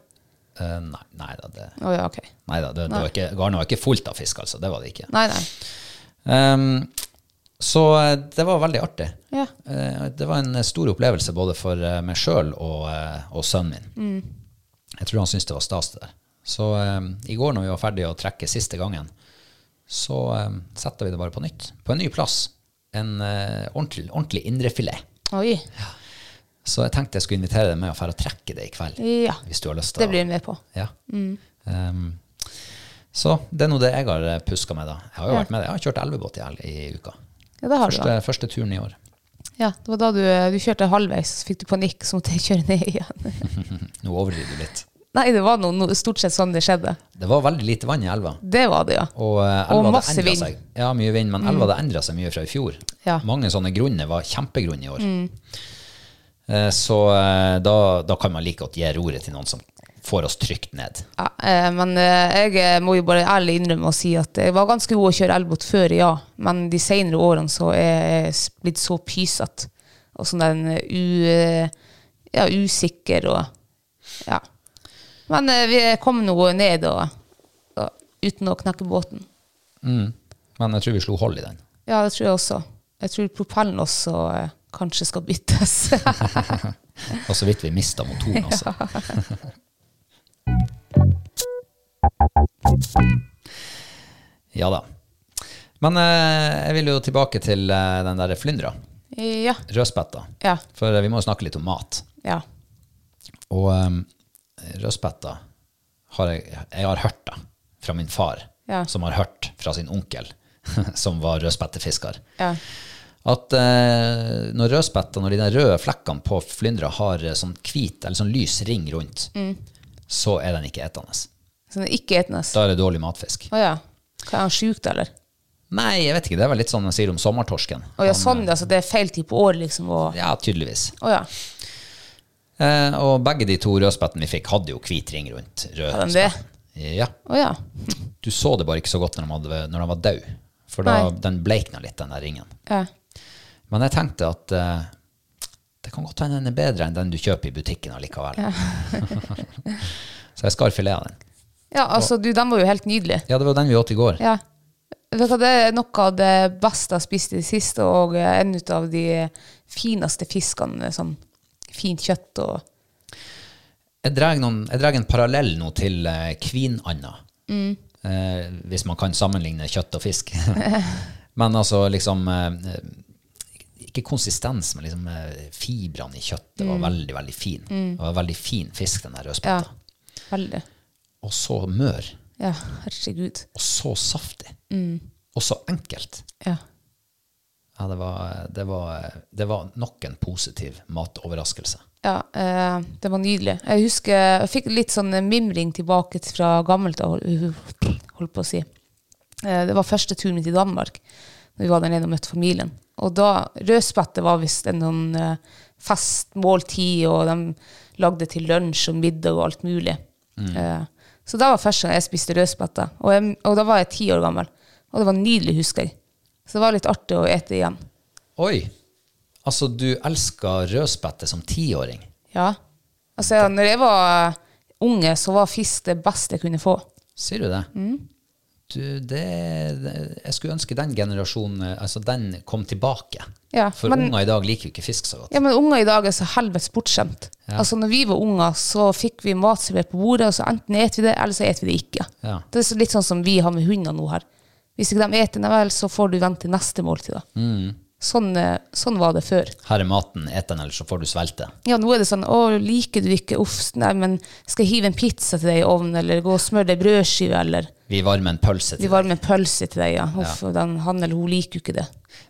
[SPEAKER 3] Eh, nei, nei da, det,
[SPEAKER 4] Å ja, ok.
[SPEAKER 3] nei da, det, det var ikke, garnet var ikke fullt av fisk, altså. Det var det ikke.
[SPEAKER 4] Nei, nei.
[SPEAKER 3] Ehm, så eh, det var veldig artig.
[SPEAKER 4] Ja.
[SPEAKER 3] Eh, det var en eh, stor opplevelse både for eh, meg sjøl og, eh, og sønnen min.
[SPEAKER 4] Mm.
[SPEAKER 3] Jeg tror han syntes det var stas, det der. Så eh, i går når vi var ferdige å trekke siste gangen, så uh, setter vi det bare på nytt. På en ny plass. En eh, ordentlig, ordentlig indrefilet.
[SPEAKER 4] Oi.
[SPEAKER 3] Så jeg tenkte jeg skulle invitere deg med og dra og trekke det i kveld.
[SPEAKER 4] Ja.
[SPEAKER 3] Hvis du har lyst til
[SPEAKER 4] Det
[SPEAKER 3] å-
[SPEAKER 4] blir Mm. jeg med på.
[SPEAKER 3] Ja. Ehm, så det er nå det jeg har puska med, da. Jeg har jo vært med det. Jeg har kjørt elvebåt i, hel- i uka.
[SPEAKER 4] Ja, det har du.
[SPEAKER 3] Første,
[SPEAKER 4] da.
[SPEAKER 3] første turen i år.
[SPEAKER 4] Ja, det var da du, du kjørte halvveis, så fikk du panikk, så måtte jeg kjøre ned igjen.
[SPEAKER 3] Nå overdriver du litt.
[SPEAKER 4] Nei, det var noe, noe, stort sett sånn det skjedde.
[SPEAKER 3] Det var veldig lite vann i elva.
[SPEAKER 4] Det var det, ja.
[SPEAKER 3] Og, eh,
[SPEAKER 4] Og
[SPEAKER 3] elva
[SPEAKER 4] masse
[SPEAKER 3] hadde endret
[SPEAKER 4] vind. Mm.
[SPEAKER 3] Seg. Ja, mye vind, men elva hadde endra seg mye fra i fjor.
[SPEAKER 4] Ja. Mm.
[SPEAKER 3] Mange sånne grunner var kjempegrunn i år. Eh, Så eh, da, da kan man like godt gi roret til noen som får oss trygt ned.
[SPEAKER 4] ja eh, men eh, jeg må jo bare ærlig innrømme og si at jeg var ganske god å kjøre elbåt før, ja. Men de senere årene så er jeg s- blitt så pysete og sånn den eh, u, ja, usikker og ja. Men eh, vi kom nå ned og, og uten å knekke båten.
[SPEAKER 3] Men jeg tror vi slo hold i den.
[SPEAKER 4] Ja, det tror jeg også. Jeg tror propellen også eh, kanskje skal byttes.
[SPEAKER 3] Og så vidt vi mista motoren altså. også. ja da. Men eh, jeg vil jo tilbake til eh, den der flyndra,
[SPEAKER 4] ja.
[SPEAKER 3] rødspetta.
[SPEAKER 4] Ja.
[SPEAKER 3] For eh, vi må jo snakke litt om mat.
[SPEAKER 4] Ja.
[SPEAKER 3] Og eh, rødspetta har jeg, jeg har hørt det fra min far,
[SPEAKER 4] Ja.
[SPEAKER 3] som har hørt fra sin onkel, som var rødspettefisker
[SPEAKER 4] Ja.
[SPEAKER 3] At eh, når rødspettene og de der røde flekkene på flyndra har eh, sånn hvit eller sånn lys ring rundt,
[SPEAKER 4] Mm.
[SPEAKER 3] så er den ikke etende.
[SPEAKER 4] Så den er Sånn ikke etende. Å
[SPEAKER 3] Da er det dårlig matfisk.
[SPEAKER 4] ja. Hva, er han sjuk, da, eller?
[SPEAKER 3] Nei, jeg vet ikke. Det er vel litt sånn man sier om sommertorsken.
[SPEAKER 4] Å ja, sånn, ja. Så det er feil type år, liksom. Og,
[SPEAKER 3] Ja, tydeligvis.
[SPEAKER 4] å ja.
[SPEAKER 3] Eh, og begge de to rødspettene vi fikk, hadde jo hvit ring rundt.
[SPEAKER 4] Hadde de det?
[SPEAKER 3] rødspetten. Ja.
[SPEAKER 4] Å ja.
[SPEAKER 3] Du så det bare ikke så godt når de, hadde, når de var døde, for da,
[SPEAKER 4] Nei.
[SPEAKER 3] den bleikna litt, den der ringen.
[SPEAKER 4] ja.
[SPEAKER 3] Men jeg tenkte at eh, det kan godt hende den er bedre enn den du kjøper i butikken allikevel. så jeg skar filet av den.
[SPEAKER 4] Ja, altså, du, den var jo helt nydelig.
[SPEAKER 3] Ja, det var den vi åt i går.
[SPEAKER 4] Ja. Vet du hva, det er noe av det beste jeg har spist i det siste, og eh, en ut av de fineste fiskene. med Sånn fint kjøtt og
[SPEAKER 3] Jeg drar, noen, jeg drar en parallell nå til eh, kvinanda.
[SPEAKER 4] Mm.
[SPEAKER 3] Eh, hvis man kan sammenligne kjøtt og fisk. men altså liksom eh, Ikke konsistens, men liksom eh, fibrene i kjøttet var veldig, veldig fin. Det var veldig fin fisk, den der
[SPEAKER 4] Mm. Ja.
[SPEAKER 3] rødspetta.
[SPEAKER 4] Veldig.
[SPEAKER 3] Og så mør.
[SPEAKER 4] Ja, herregud.
[SPEAKER 3] Og så saftig.
[SPEAKER 4] Mm.
[SPEAKER 3] Og så enkelt.
[SPEAKER 4] Ja.
[SPEAKER 3] Ja, det var, det, var, det var nok en positiv matoverraskelse.
[SPEAKER 4] Ja, eh, det var nydelig. Jeg husker jeg fikk litt sånn mimring tilbake fra gammelt av, holdt på å si. Eh, det var første turen min til Danmark, når vi var der nede og møtte familien. Og da, rødspette var visst en sånn eh, fast måltid, og de lagde til lunsj og middag og alt mulig. Eh, så da var første gang jeg spiste rødspette, og, jeg, og da var jeg ti år gammel. Og det var nydelig, husker jeg. Så det var litt artig å ete igjen.
[SPEAKER 3] Oi! Altså, du elska rødspette som tiåring.
[SPEAKER 4] Ja. Altså, når jeg var unge, så var fisk det beste jeg kunne få.
[SPEAKER 3] Sier du det?
[SPEAKER 4] Mm.
[SPEAKER 3] Du, det, det Jeg skulle ønske den generasjonen eh, altså den kom tilbake.
[SPEAKER 4] Ja,
[SPEAKER 3] For
[SPEAKER 4] men-
[SPEAKER 3] unger i dag liker jo ikke fisk så godt.
[SPEAKER 4] Ja, men unger i dag er så helvetes bortskjemt. Altså, når vi var unger, så fikk vi mat servert på bordet, og så enten et vi det, eller så et vi det ikke.
[SPEAKER 3] Ja.
[SPEAKER 4] Det er så litt sånn som vi har med hunder nå her. Hvis ikke de eter, nei vel, så får du vente til neste måltid, da.
[SPEAKER 3] Mm.
[SPEAKER 4] Sånn, eh, sånn var det før.
[SPEAKER 3] Her er maten, et den, ellers så får du svelte.
[SPEAKER 4] Ja, nå er det sånn, å, liker du ikke, uff, nei, men skal jeg hive en pizza til deg i ovnen, eller gå og smøre deg brødskive, eller
[SPEAKER 3] Vi varmer en pølse
[SPEAKER 4] Vi
[SPEAKER 3] til
[SPEAKER 4] varmer en pølse til deg, ja. Uff, og Den, han eller hun liker jo ikke det.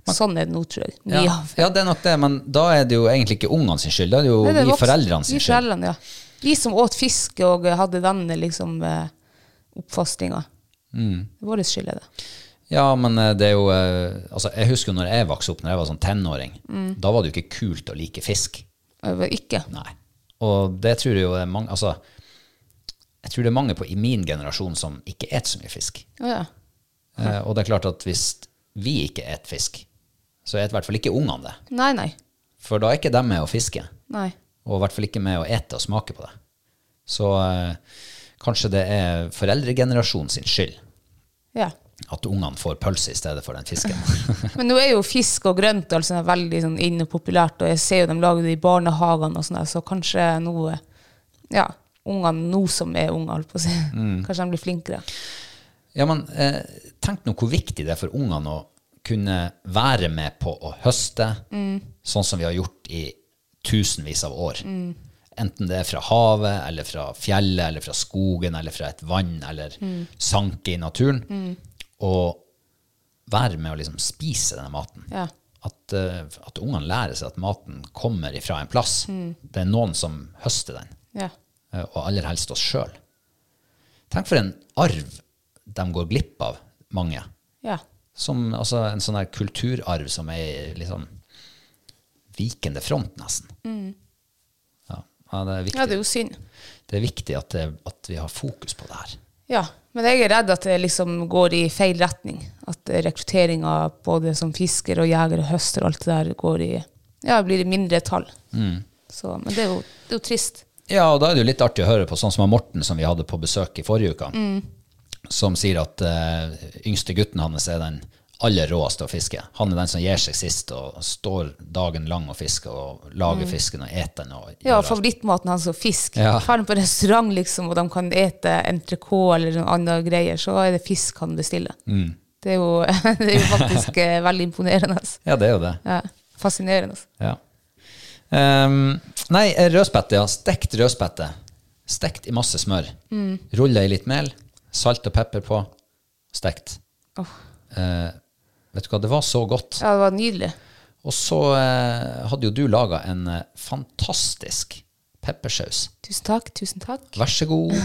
[SPEAKER 4] Sånn er det nå, tror jeg.
[SPEAKER 3] Ja.
[SPEAKER 4] Ja.
[SPEAKER 3] ja, det er nok det, men da er det jo egentlig ikke ungene sin skyld. Da er det jo
[SPEAKER 4] Nei, det
[SPEAKER 3] vi
[SPEAKER 4] er voksen-
[SPEAKER 3] foreldrene sin
[SPEAKER 4] vi
[SPEAKER 3] skyld.
[SPEAKER 4] foreldrene, ja. Vi som åt fisk og eh, hadde den liksom, eh, oppfostringa.
[SPEAKER 3] Mm.
[SPEAKER 4] Det er vår skyld, er det.
[SPEAKER 3] Ja, men eh, det er jo eh, altså, Jeg husker jo når jeg vokste opp, når jeg var sånn tenåring, da var det jo ikke kult å like fisk.
[SPEAKER 4] Det var Eh, Ikke.
[SPEAKER 3] Nei. Og det tror jeg jo er mange Altså, jeg tror det er mange på, i min generasjon som ikke et så mye fisk.
[SPEAKER 4] Å ja.
[SPEAKER 3] Eh, og det er klart at hvis vi ikke et fisk, så et i hvert fall ikke ungene det.
[SPEAKER 4] Nei, nei.
[SPEAKER 3] For da er ikke de med å fiske,
[SPEAKER 4] Nei.
[SPEAKER 3] og i hvert fall ikke med å ete og smake på det. Så eh, kanskje det er foreldregenerasjonen sin skyld
[SPEAKER 4] Ja.
[SPEAKER 3] at ungene får pølse i stedet for den fisken.
[SPEAKER 4] Men nå er jo fisk og grønt og alt sånt der veldig sånn inn og populært, og jeg ser jo de lager det i barnehagene og sånn, der, så kanskje nå eh, Ja, ungene nå som er unge, holdt på å si.
[SPEAKER 3] Mm.
[SPEAKER 4] Kanskje de blir flinkere.
[SPEAKER 3] Ja, men eh, tenk nå hvor viktig det er for ungene å kunne være med på å høste, sånn som vi har gjort i tusenvis av år. Enten det er fra havet, eller fra fjellet, eller fra skogen, eller fra et vann, eller sanke i naturen. Og være med å liksom spise denne maten.
[SPEAKER 4] Ja.
[SPEAKER 3] At, eh, at ungene lærer seg at maten kommer ifra en plass. Det er noen som høster den
[SPEAKER 4] Ja.
[SPEAKER 3] eh, og aller helst oss sjøl. Tenk for en arv de går glipp av, mange.
[SPEAKER 4] Ja.
[SPEAKER 3] Som, altså en sånn her kulturarv som er litt sånn vikende front, nesten. Ja, ja, det, er viktig.
[SPEAKER 4] ja, det er jo synd.
[SPEAKER 3] det er viktig at, det, at vi har fokus på det her.
[SPEAKER 4] Ja, men jeg er redd at det liksom går i feil retning. At rekrutteringa både som fisker og jeger og høster og alt det der går i Ja, blir i mindre tall. Så, men det er, jo, det er jo trist.
[SPEAKER 3] Ja, og da er det jo litt artig å høre på sånn som han Morten som vi hadde på besøk i forrige uke, som sier at eh, yngste gutten hans er den aller råeste å fiske. Han er den som gir seg sist og står dagen lang og fisker og lager fisken og eter den. Og
[SPEAKER 4] Ja,
[SPEAKER 3] gjør alt.
[SPEAKER 4] favorittmaten hans er fisk.
[SPEAKER 3] Ja.
[SPEAKER 4] Ja. Drar han på restaurant liksom, og de kan ete entrecôte eller noen andre greier, så er det fisk han bestiller. Det, er jo, det er jo faktisk eh, veldig imponerende. altså.
[SPEAKER 3] ja, det er jo det.
[SPEAKER 4] Ja, fascinerende. altså.
[SPEAKER 3] Ja. Ehm, nei, rødspette, ja. Stekt rødspette. Stekt i masse smør. Rulla i litt mel, salt og pepper på. Stekt. Eh, vet du hva, det var så godt.
[SPEAKER 4] Ja, det var nydelig.
[SPEAKER 3] Og så eh, hadde jo du laga en eh, fantastisk peppersaus.
[SPEAKER 4] Tusen takk, tusen takk.
[SPEAKER 3] Vær så god.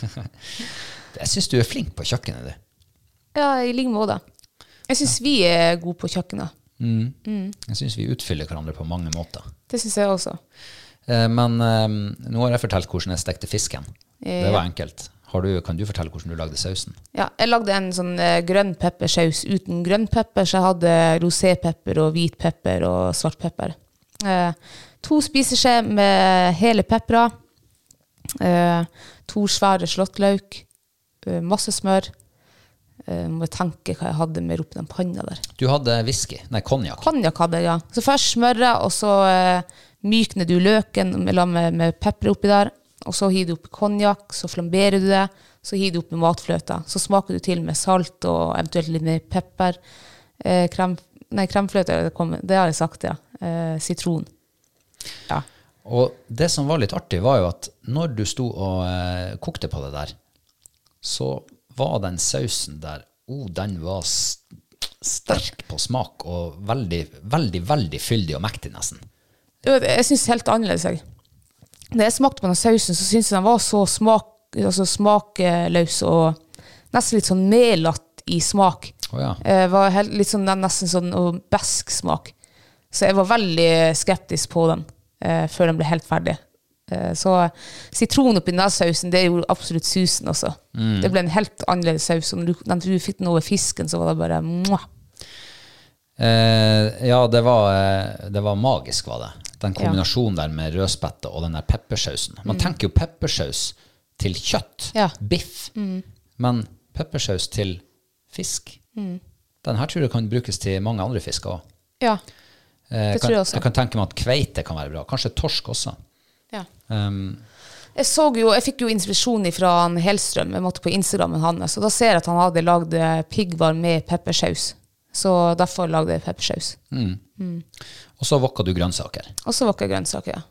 [SPEAKER 3] jeg syns du er flink på kjøkkenet, du.
[SPEAKER 4] Ja, i like måte. Jeg syns vi er gode på kjøkkenet.
[SPEAKER 3] Mm. Jeg syns vi utfyller hverandre på mange måter.
[SPEAKER 4] Det syns jeg også.
[SPEAKER 3] Eh, Men eh, nå har jeg fortalt hvordan jeg stekte fisken.
[SPEAKER 4] Eh,
[SPEAKER 3] Det var enkelt. Har du, kan du fortelle hvordan du lagde sausen?
[SPEAKER 4] Ja, jeg lagde en sånn eh, grønn peppersaus uten grønn pepper, så jeg hadde rosépepper og hvit pepper og svart pepper. Eh, to spiseskjeer med hele peppere, eh, to svære slåttløk, eh, masse smør. Eh, må jeg tenke hva jeg hadde mer oppi den panna der.
[SPEAKER 3] Du hadde whisky, nei, konjakk.
[SPEAKER 4] Konjakk hadde jeg, ja. Så først smøret, og så eh, mykner du løken med, med, med pepper oppi der. Og så hiver du oppi konjakk, så flamberer du det. Så hiver du oppi matfløta. Så smaker du til med salt og eventuelt litt mer pepper. Eh, krem, nei, kremfløte, det, kom, det har jeg sagt, ja. Eh, sitron. Ja.
[SPEAKER 3] Og det som var litt artig, var jo at når du sto og eh, kokte på det der, så var den sausen der oh, den var s- sterk på smak og veldig, veldig, veldig fyldig og mektig, nesten.
[SPEAKER 4] Jo, Jeg syns helt annerledes. Jeg. Når jeg smakte på den sausen, så syntes jeg den var så smak, altså smakløs og nesten litt sånn melete i smak.
[SPEAKER 3] Å ja.
[SPEAKER 4] Eh, var helt, litt sånn, nesten sånn og besk smak. Så jeg var veldig skeptisk på den eh, før den ble helt ferdig. Eh, så sitron oppi den der sausen, det gjorde absolutt susen også. Det ble en helt annerledes saus. Og når du, når du fikk den over fisken, så var det bare mwah.
[SPEAKER 3] Eh, ja, det var, eh, det var magisk, var det. Den kombinasjonen der med rødspette og den der peppersausen. Man tenker jo peppersaus til kjøtt,
[SPEAKER 4] Ja.
[SPEAKER 3] biff, men peppersaus til fisk. Den her tror jeg kan brukes til mange andre fisker òg.
[SPEAKER 4] Ja.
[SPEAKER 3] Eh,
[SPEAKER 4] Det
[SPEAKER 3] kan-
[SPEAKER 4] tror jeg også.
[SPEAKER 3] Jeg kan tenke meg at kveite kan være bra. Kanskje torsk også.
[SPEAKER 4] ja.
[SPEAKER 3] Um,
[SPEAKER 4] Jeg, så jo, jeg fikk jo inspirasjon fra han Hellstrøm. Jeg måtte på Instagrammen hans. Og da ser jeg at han hadde lagd eh, piggvar med peppersaus. Så derfor lagde jeg peppersaus.
[SPEAKER 3] og så vokker du grønnsaker.
[SPEAKER 4] Og så vakker grønnsaker. ja.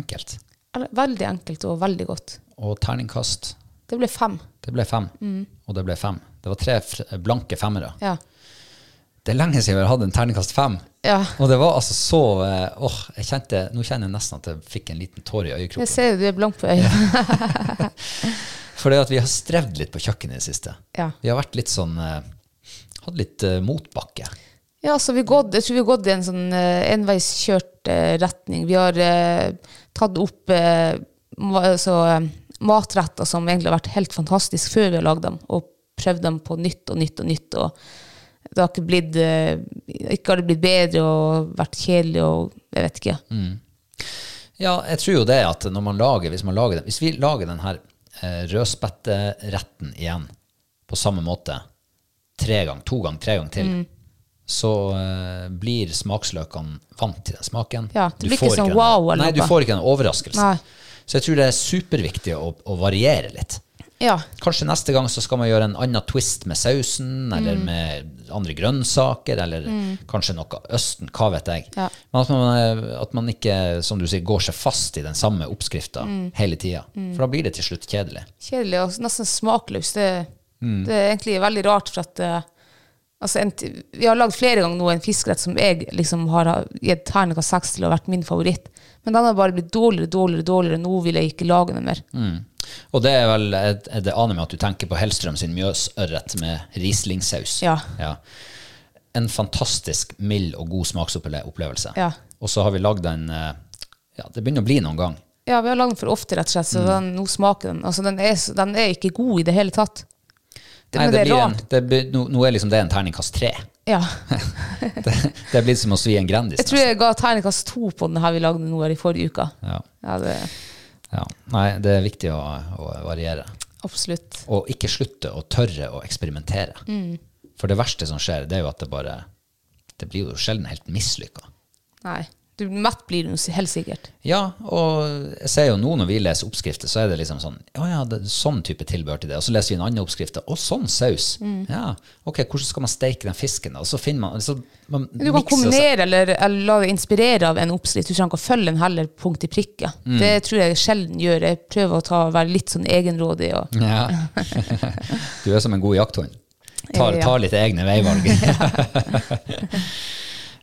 [SPEAKER 3] Enkelt.
[SPEAKER 4] Eller, Veldig enkelt og veldig godt.
[SPEAKER 3] Og terningkast.
[SPEAKER 4] Det ble fem.
[SPEAKER 3] Det ble fem. Og det ble fem. Det var tre fr- blanke femmere.
[SPEAKER 4] Mm. Ja.
[SPEAKER 3] Det er lenge siden vi har hatt en terningkast fem.
[SPEAKER 4] ja.
[SPEAKER 3] Og det var altså så eh, Åh, jeg kjente, Nå kjenner jeg nesten at jeg fikk en liten tåre i
[SPEAKER 4] Jeg
[SPEAKER 3] øyekroken.
[SPEAKER 4] ser jo du er blank på øyet.
[SPEAKER 3] For det at vi har strevd litt på kjøkkenet i det siste.
[SPEAKER 4] Ja.
[SPEAKER 3] Vi har vært litt sånn eh, Hatt litt eh, motbakke.
[SPEAKER 4] Ja, så vi har gått, jeg tror vi har gått i en sånn eh, enveiskjørt eh, retning. Vi har eh, tatt opp eh, ma, altså, eh, matretter som egentlig har vært helt fantastisk før vi har lagd dem, og prøvd dem på nytt og nytt og nytt. Og det har ikke blitt, eh, ikke har det blitt bedre og vært kjedelig og jeg vet ikke.
[SPEAKER 3] Ja, jeg tror jo det at når man lager, hvis, man lager den, hvis vi lager den her eh, rødspetteretten igjen på samme måte tre gang, to gang, tre gang til,
[SPEAKER 4] Mm.
[SPEAKER 3] så eh, blir smaksløkene vant til den smaken.
[SPEAKER 4] Ja, det
[SPEAKER 3] Du
[SPEAKER 4] blir
[SPEAKER 3] får
[SPEAKER 4] ikke sånn
[SPEAKER 3] den-
[SPEAKER 4] wow eller
[SPEAKER 3] Nei, du
[SPEAKER 4] noe.
[SPEAKER 3] får ikke den overraskelsen.
[SPEAKER 4] Nei.
[SPEAKER 3] Så jeg tror det er superviktig å, å variere litt.
[SPEAKER 4] Ja,
[SPEAKER 3] Kanskje neste gang så skal man gjøre en annen twist med sausen,
[SPEAKER 4] Mm.
[SPEAKER 3] eller med andre grønnsaker, eller kanskje noe østen, hva vet jeg.
[SPEAKER 4] Ja.
[SPEAKER 3] Men at man, eh, at man ikke, som du sier, går seg fast i den samme oppskrifta
[SPEAKER 4] Mm.
[SPEAKER 3] hele tida. For da blir det til slutt kjedelig.
[SPEAKER 4] kjedelig og nesten smakløst. Det,
[SPEAKER 3] Mm.
[SPEAKER 4] det er egentlig veldig rart, for at eh, altså en, t- Vi har lagd flere ganger nå en fiskerett som jeg liksom har ha- gitt terningkast seks til og vært min favoritt. Men den har bare blitt dårligere, dårligere, dårligere. Nå vil jeg ikke lage den mer.
[SPEAKER 3] Mm. Og det er vel, jeg- det aner meg at du tenker på Hellstrøm sin mjøsørret med rislingsaus.
[SPEAKER 4] Ja.
[SPEAKER 3] En fantastisk mild og god smaksopplevelse.
[SPEAKER 4] Ja.
[SPEAKER 3] Og så har vi lagd en eh, Ja, det begynner å bli noen gang.
[SPEAKER 4] Ja, vi har lagd den for ofte, rett og slett, så
[SPEAKER 3] Mm.
[SPEAKER 4] den, nå smaker den. Altså, den er, s- den er ikke god i det hele tatt. Det,
[SPEAKER 3] Nei,
[SPEAKER 4] men
[SPEAKER 3] det
[SPEAKER 4] det er
[SPEAKER 3] blir en,
[SPEAKER 4] rart.
[SPEAKER 3] det, blir- nå, nå er liksom det en terningkast tre.
[SPEAKER 4] Ja.
[SPEAKER 3] Det, det er blitt som å svi en grendis.
[SPEAKER 4] Jeg tror jeg ga terningkast to på den her vi lagde nå her i forrige uke.
[SPEAKER 3] nesten. ja.
[SPEAKER 4] Ja, det
[SPEAKER 3] Ja. Nei, det er viktig å, å variere.
[SPEAKER 4] Absolutt.
[SPEAKER 3] Og ikke slutte å tørre å eksperimentere.
[SPEAKER 4] Mm.
[SPEAKER 3] For det verste som skjer, det er jo at det bare Det blir jo sjelden helt mislykka.
[SPEAKER 4] Nei. Du, mett blir du nå, helt sikkert.
[SPEAKER 3] Ja, og jeg ser jo nå når vi leser oppskrifter, så er det liksom sånn Å ja, det er sånn type tilbehør til det. Og så leser vi en annen oppskrift. Å, sånn saus.
[SPEAKER 4] Mm.
[SPEAKER 3] Ja, ok, hvordan skal man steike den fisken, da? Og så finner man, så man
[SPEAKER 4] Du kan
[SPEAKER 3] mikser seg-
[SPEAKER 4] kombinere eller, eller la deg inspirere av en oppskrift. Du trenger ikke å følge den heller punkt i prikke.
[SPEAKER 3] Mm.
[SPEAKER 4] Det tror jeg sjelden gjør. Jeg
[SPEAKER 3] Mm.
[SPEAKER 4] prøver å ta, være litt sånn egenrådig. Og,
[SPEAKER 3] Ja. Du er som en god jakthund. Tar,
[SPEAKER 4] Ja.
[SPEAKER 3] tar litt egne veivalg.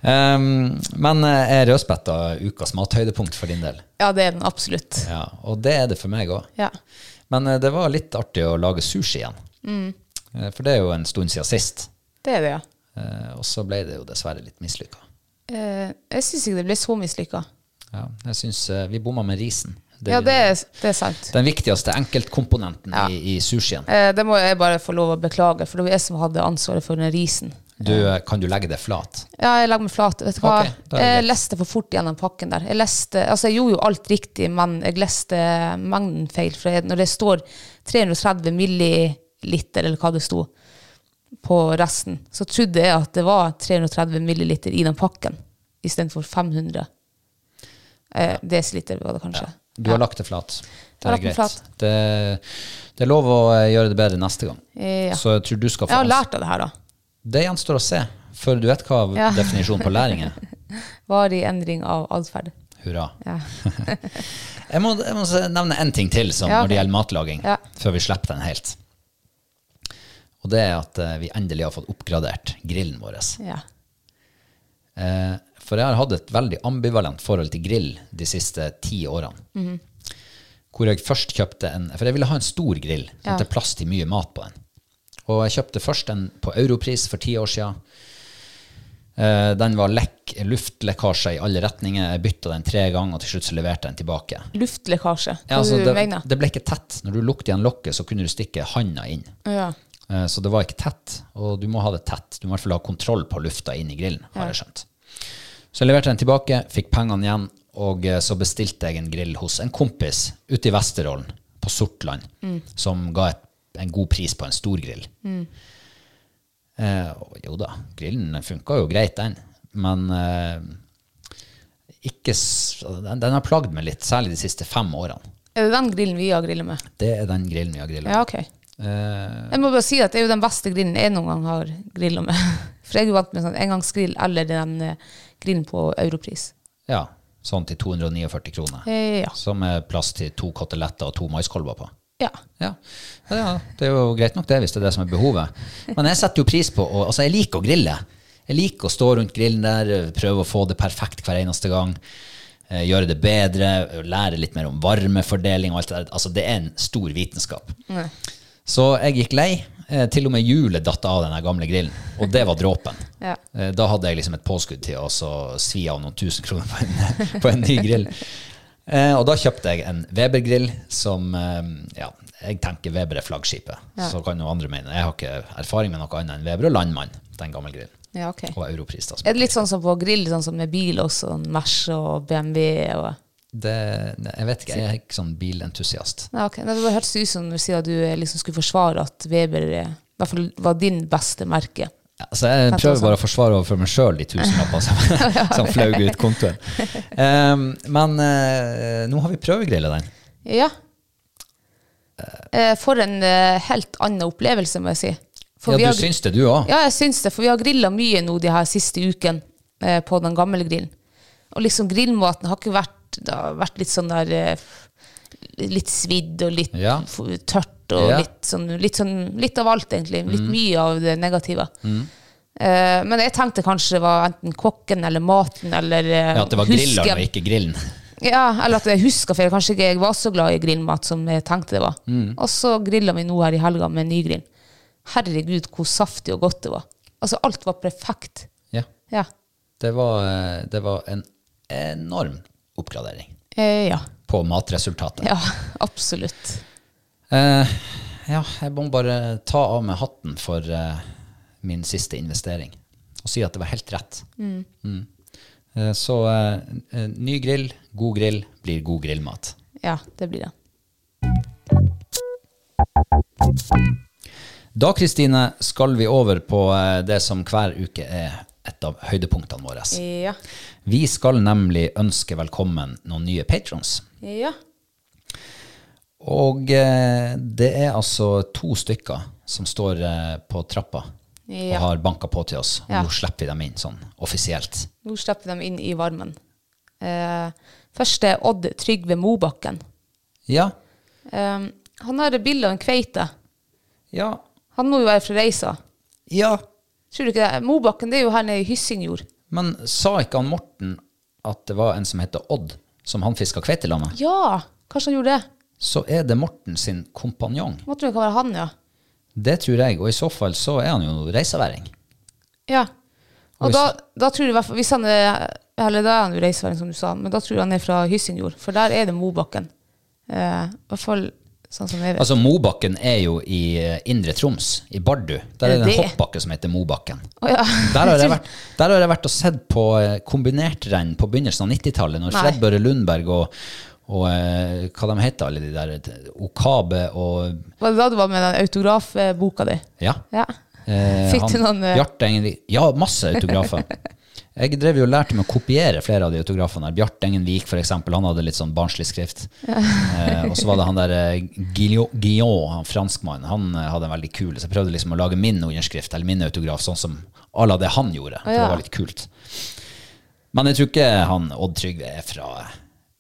[SPEAKER 3] um, men eh, er rødspetta ukas mathøydepunkt for din del?
[SPEAKER 4] Ja, det er den absolutt.
[SPEAKER 3] Ja, og det er det for meg òg.
[SPEAKER 4] Ja.
[SPEAKER 3] Men eh, det var litt artig å lage sushi igjen.
[SPEAKER 4] Mm.
[SPEAKER 3] Eh, For det er jo en stund siden sist.
[SPEAKER 4] Det er det, ja.
[SPEAKER 3] Eh, Og så ble det jo dessverre litt mislykka.
[SPEAKER 4] Eh, jeg syns ikke det ble så mislykka.
[SPEAKER 3] Ja, jeg syns eh, vi bomma med risen. Det er
[SPEAKER 4] Ja, det er, det er sant.
[SPEAKER 3] Den viktigste enkeltkomponenten
[SPEAKER 4] Ja.
[SPEAKER 3] i, i sushien.
[SPEAKER 4] Eh, det må jeg bare få lov å beklage, for det var jeg som hadde ansvaret for den risen.
[SPEAKER 3] Du, eh, kan du legge det flat?
[SPEAKER 4] Ja, jeg legger meg flat. Vet du hva?
[SPEAKER 3] Ok, da er det
[SPEAKER 4] jeg
[SPEAKER 3] greit.
[SPEAKER 4] leste for fort gjennom pakken der. Jeg leste, altså jeg gjorde jo alt riktig, men jeg leste mengden feil. For jeg, når det står 330 milliliter, eller hva det sto, på resten, så trodde jeg at det var 330 milliliter i den pakken, istedenfor 500 eh, desiliter, var det kanskje.
[SPEAKER 3] Du har lagt det flat. Det
[SPEAKER 4] Jeg har
[SPEAKER 3] er
[SPEAKER 4] lagt
[SPEAKER 3] greit.
[SPEAKER 4] den flat.
[SPEAKER 3] Det, det er lov å eh, gjøre det bedre neste gang.
[SPEAKER 4] Eh, Ja.
[SPEAKER 3] Så jeg tror du skal
[SPEAKER 4] Jeg
[SPEAKER 3] få
[SPEAKER 4] har lært av det her, da.
[SPEAKER 3] Det gjenstår å se, før du vet hva
[SPEAKER 4] Ja.
[SPEAKER 3] definisjonen på læring er.
[SPEAKER 4] Varig endring av atferd.
[SPEAKER 3] Hurra.
[SPEAKER 4] Ja.
[SPEAKER 3] Jeg må, jeg må se- nevne en ting til som,
[SPEAKER 4] Ja,
[SPEAKER 3] når
[SPEAKER 4] ok.
[SPEAKER 3] det gjelder matlaging,
[SPEAKER 4] Ja.
[SPEAKER 3] før vi slipper den helt. Og det er at eh, vi endelig har fått oppgradert grillen vår.
[SPEAKER 4] ja.
[SPEAKER 3] Eh, for jeg har hatt et veldig ambivalent forhold til grill de siste ti årene. Hvor jeg først kjøpte en For jeg ville ha en stor grill, sånn
[SPEAKER 4] Ja.
[SPEAKER 3] at det er plass til mye mat på den. Og jeg kjøpte først en på europris for ti år siden. Eh, den var lekk, luftlekkasjer i alle retninger. Jeg bytta den tre ganger, og til slutt så leverte jeg den tilbake.
[SPEAKER 4] Luftlekkasje. Hva
[SPEAKER 3] Ja, altså,
[SPEAKER 4] du
[SPEAKER 3] det,
[SPEAKER 4] mener
[SPEAKER 3] det ble ikke tett. Når du lukket igjen lokket, så kunne du stikke handa inn.
[SPEAKER 4] Ja.
[SPEAKER 3] Eh, Så det var ikke tett, og du må ha det tett. Du må i hvert fall ha kontroll på lufta inn i grillen, har jeg skjønt. Så jeg leverte den tilbake, fikk pengene igjen, og eh, så bestilte jeg en grill hos en kompis ute i Vesterålen, på Sortland, som ga et, en god pris på en stor grill. Eh, og jo da, grillen funka jo greit, den, men eh, ikke, s- den, den har plagd meg litt, særlig de siste fem årene.
[SPEAKER 4] Er det den grillen vi har grillet med?
[SPEAKER 3] Det er den grillen vi har grillet.
[SPEAKER 4] Ja, ok.
[SPEAKER 3] Eh,
[SPEAKER 4] Jeg må bare si at det er jo den beste grillen jeg noen gang har grillet med. For jeg er jo vant med sånn engangsgrill eller den eh, grillen på europris.
[SPEAKER 3] ja, sånn til 249 kroner.
[SPEAKER 4] Eh, Ja.
[SPEAKER 3] Som er plass til to koteletter og to maiskolber på.
[SPEAKER 4] ja.
[SPEAKER 3] Ja. Ja, ja, det er jo greit nok det, hvis det er det som er behovet. Men jeg setter jo pris på å Altså, jeg liker å grille. Jeg liker å stå rundt grillen der, prøve å få det perfekt hver eneste gang. eh, Gjøre det bedre, lære litt mer om varmefordeling og alt det der. Altså, det er en stor vitenskap. Så jeg gikk lei. Eh, Til og med hjulet datt av den her gamle grillen, og det var dråpen.
[SPEAKER 4] Ja.
[SPEAKER 3] Eh, Da hadde jeg liksom et påskudd til å så svi av noen tusen kroner på en, på en ny grill. Eh, og da kjøpte jeg en Weber-grill som eh, ja, jeg tenker Weber er flaggskipet. Så kan jo andre mene. Jeg har ikke erfaring med noe annet enn Weber og Landmann, den gamle grillen.
[SPEAKER 4] ja, ok.
[SPEAKER 3] Og Europris, da. som-
[SPEAKER 4] Er det litt sånn som på grill, sånn som med bil også, sånn Mersh og BMW og
[SPEAKER 3] Det, nei, jeg vet ikke, jeg er ikke sånn bilentusiast.
[SPEAKER 4] Nei, ok. Nei, Det bare hørtes ut som du sier at du eh, liksom skulle forsvare at Weber eh, i hvert fall var din beste merke.
[SPEAKER 3] Ja, så jeg
[SPEAKER 4] Fett
[SPEAKER 3] prøver
[SPEAKER 4] også.
[SPEAKER 3] bare å forsvare overfor meg sjøl de tusenlappene som, som flaug ut kontoen. Ehm, men eh, nå har vi prøvegrilla den.
[SPEAKER 4] Ja. Eh, For en eh, helt annen opplevelse, må jeg si. For vi
[SPEAKER 3] ja,
[SPEAKER 4] har-
[SPEAKER 3] du syns det, du òg?
[SPEAKER 4] Ja, jeg syns det, for vi har grilla mye nå de her siste ukene eh, på den gamle grillen. Og liksom grillmaten har ikke vært, det har vært litt sånn der eh, Litt svidd og litt
[SPEAKER 3] Ja.
[SPEAKER 4] f- tørt og
[SPEAKER 3] Ja. Mm.
[SPEAKER 4] litt, sånn, litt sånn Litt av alt, egentlig. Litt mye av det negative. Eh, men jeg tenkte kanskje det var enten kokken eller maten eller eh,
[SPEAKER 3] Ja, at det var grilleren og ikke grillen.
[SPEAKER 4] Ja, eller at jeg husker feil. Kanskje ikke jeg var så glad i grillmat som jeg tenkte det var. Og så grilla vi nå her i helga med nygrill. Herregud, hvor saftig og godt det var. Altså, alt var perfekt.
[SPEAKER 3] Ja,
[SPEAKER 4] Ja.
[SPEAKER 3] det var, eh, det var en enorm oppgradering
[SPEAKER 4] Eh, ja.
[SPEAKER 3] på matresultatet.
[SPEAKER 4] ja, absolutt.
[SPEAKER 3] Eh, ja, jeg må bare ta av meg hatten for eh, min siste investering og si at det var helt rett. Mm. Eh, så eh, eh, ny grill, god grill, blir god grillmat.
[SPEAKER 4] Ja, det blir det.
[SPEAKER 3] Da Kristine, skal vi over på eh, det som hver uke er et av høydepunktene våre.
[SPEAKER 4] Ja.
[SPEAKER 3] Vi skal nemlig ønske velkommen noen nye patrons.
[SPEAKER 4] Ja.
[SPEAKER 3] Og eh, det er altså to stykker som står eh, på trappa
[SPEAKER 4] Ja.
[SPEAKER 3] og har banka på til oss. Og
[SPEAKER 4] Ja.
[SPEAKER 3] nå slipper vi dem inn sånn offisielt.
[SPEAKER 4] Nå slipper de inn i varmen. Eh, først er Odd Trygve Mobakken.
[SPEAKER 3] Ja,
[SPEAKER 4] Eh, han har et bilde av en kveite.
[SPEAKER 3] ja,
[SPEAKER 4] Han må jo være fra Reisa.
[SPEAKER 3] Ja,
[SPEAKER 4] Tror du ikke det? Mobakken det er jo her nede i Hyssingjord.
[SPEAKER 3] men sa ikke han Morten at det var en som heter Odd, som han fiska kveitelam med?
[SPEAKER 4] Ja, kanskje han gjorde det.
[SPEAKER 3] Så er det Morten sin kompanjong.
[SPEAKER 4] Måtte det kan være han, ja.
[SPEAKER 3] Det tror jeg, og i så fall så er han jo reiseværing.
[SPEAKER 4] Ja.
[SPEAKER 3] Og
[SPEAKER 4] Og
[SPEAKER 3] hvis-
[SPEAKER 4] da, da tror jeg i hvert fall Hvis han er Eller da er han jo reiseværing, som du sa, men da tror jeg han er fra Hyssingjord, for der er det Mobakken. Eh, I hvert fall sånn som jeg vet.
[SPEAKER 3] Altså Mobakken er jo i eh, Indre Troms, i Bardu. Der er det en
[SPEAKER 4] Det-
[SPEAKER 3] hoppbakke som heter Mobakken.
[SPEAKER 4] Å ja.
[SPEAKER 3] Der har jeg vært, der har jeg vært og sett på eh, kombinertrenn på begynnelsen av 90-tallet, når
[SPEAKER 4] Nei.
[SPEAKER 3] Fred Børre Lundberg og, og eh, hva de heter alle de der, eh, Okabe og
[SPEAKER 4] Var det da du var med den autografboka di?
[SPEAKER 3] Ja.
[SPEAKER 4] Ja.
[SPEAKER 3] Eh,
[SPEAKER 4] Fikk du
[SPEAKER 3] han-
[SPEAKER 4] noen eh,
[SPEAKER 3] Bjarte Engen Ja, masse autografer. Jeg drev jo og lærte meg å kopiere flere av de autografene. her. Bjarte Engen Vik, for eksempel, han hadde litt sånn barnslig skrift. Eh, og så var det han der eh, Guillou- Guillaume, han franskmannen, han eh, hadde en veldig kul Så jeg prøvde liksom å lage min underskrift, eller min autograf, sånn som à la det han gjorde. For
[SPEAKER 4] ja.
[SPEAKER 3] det var litt kult. Men jeg tror ikke han Odd Trygve er fra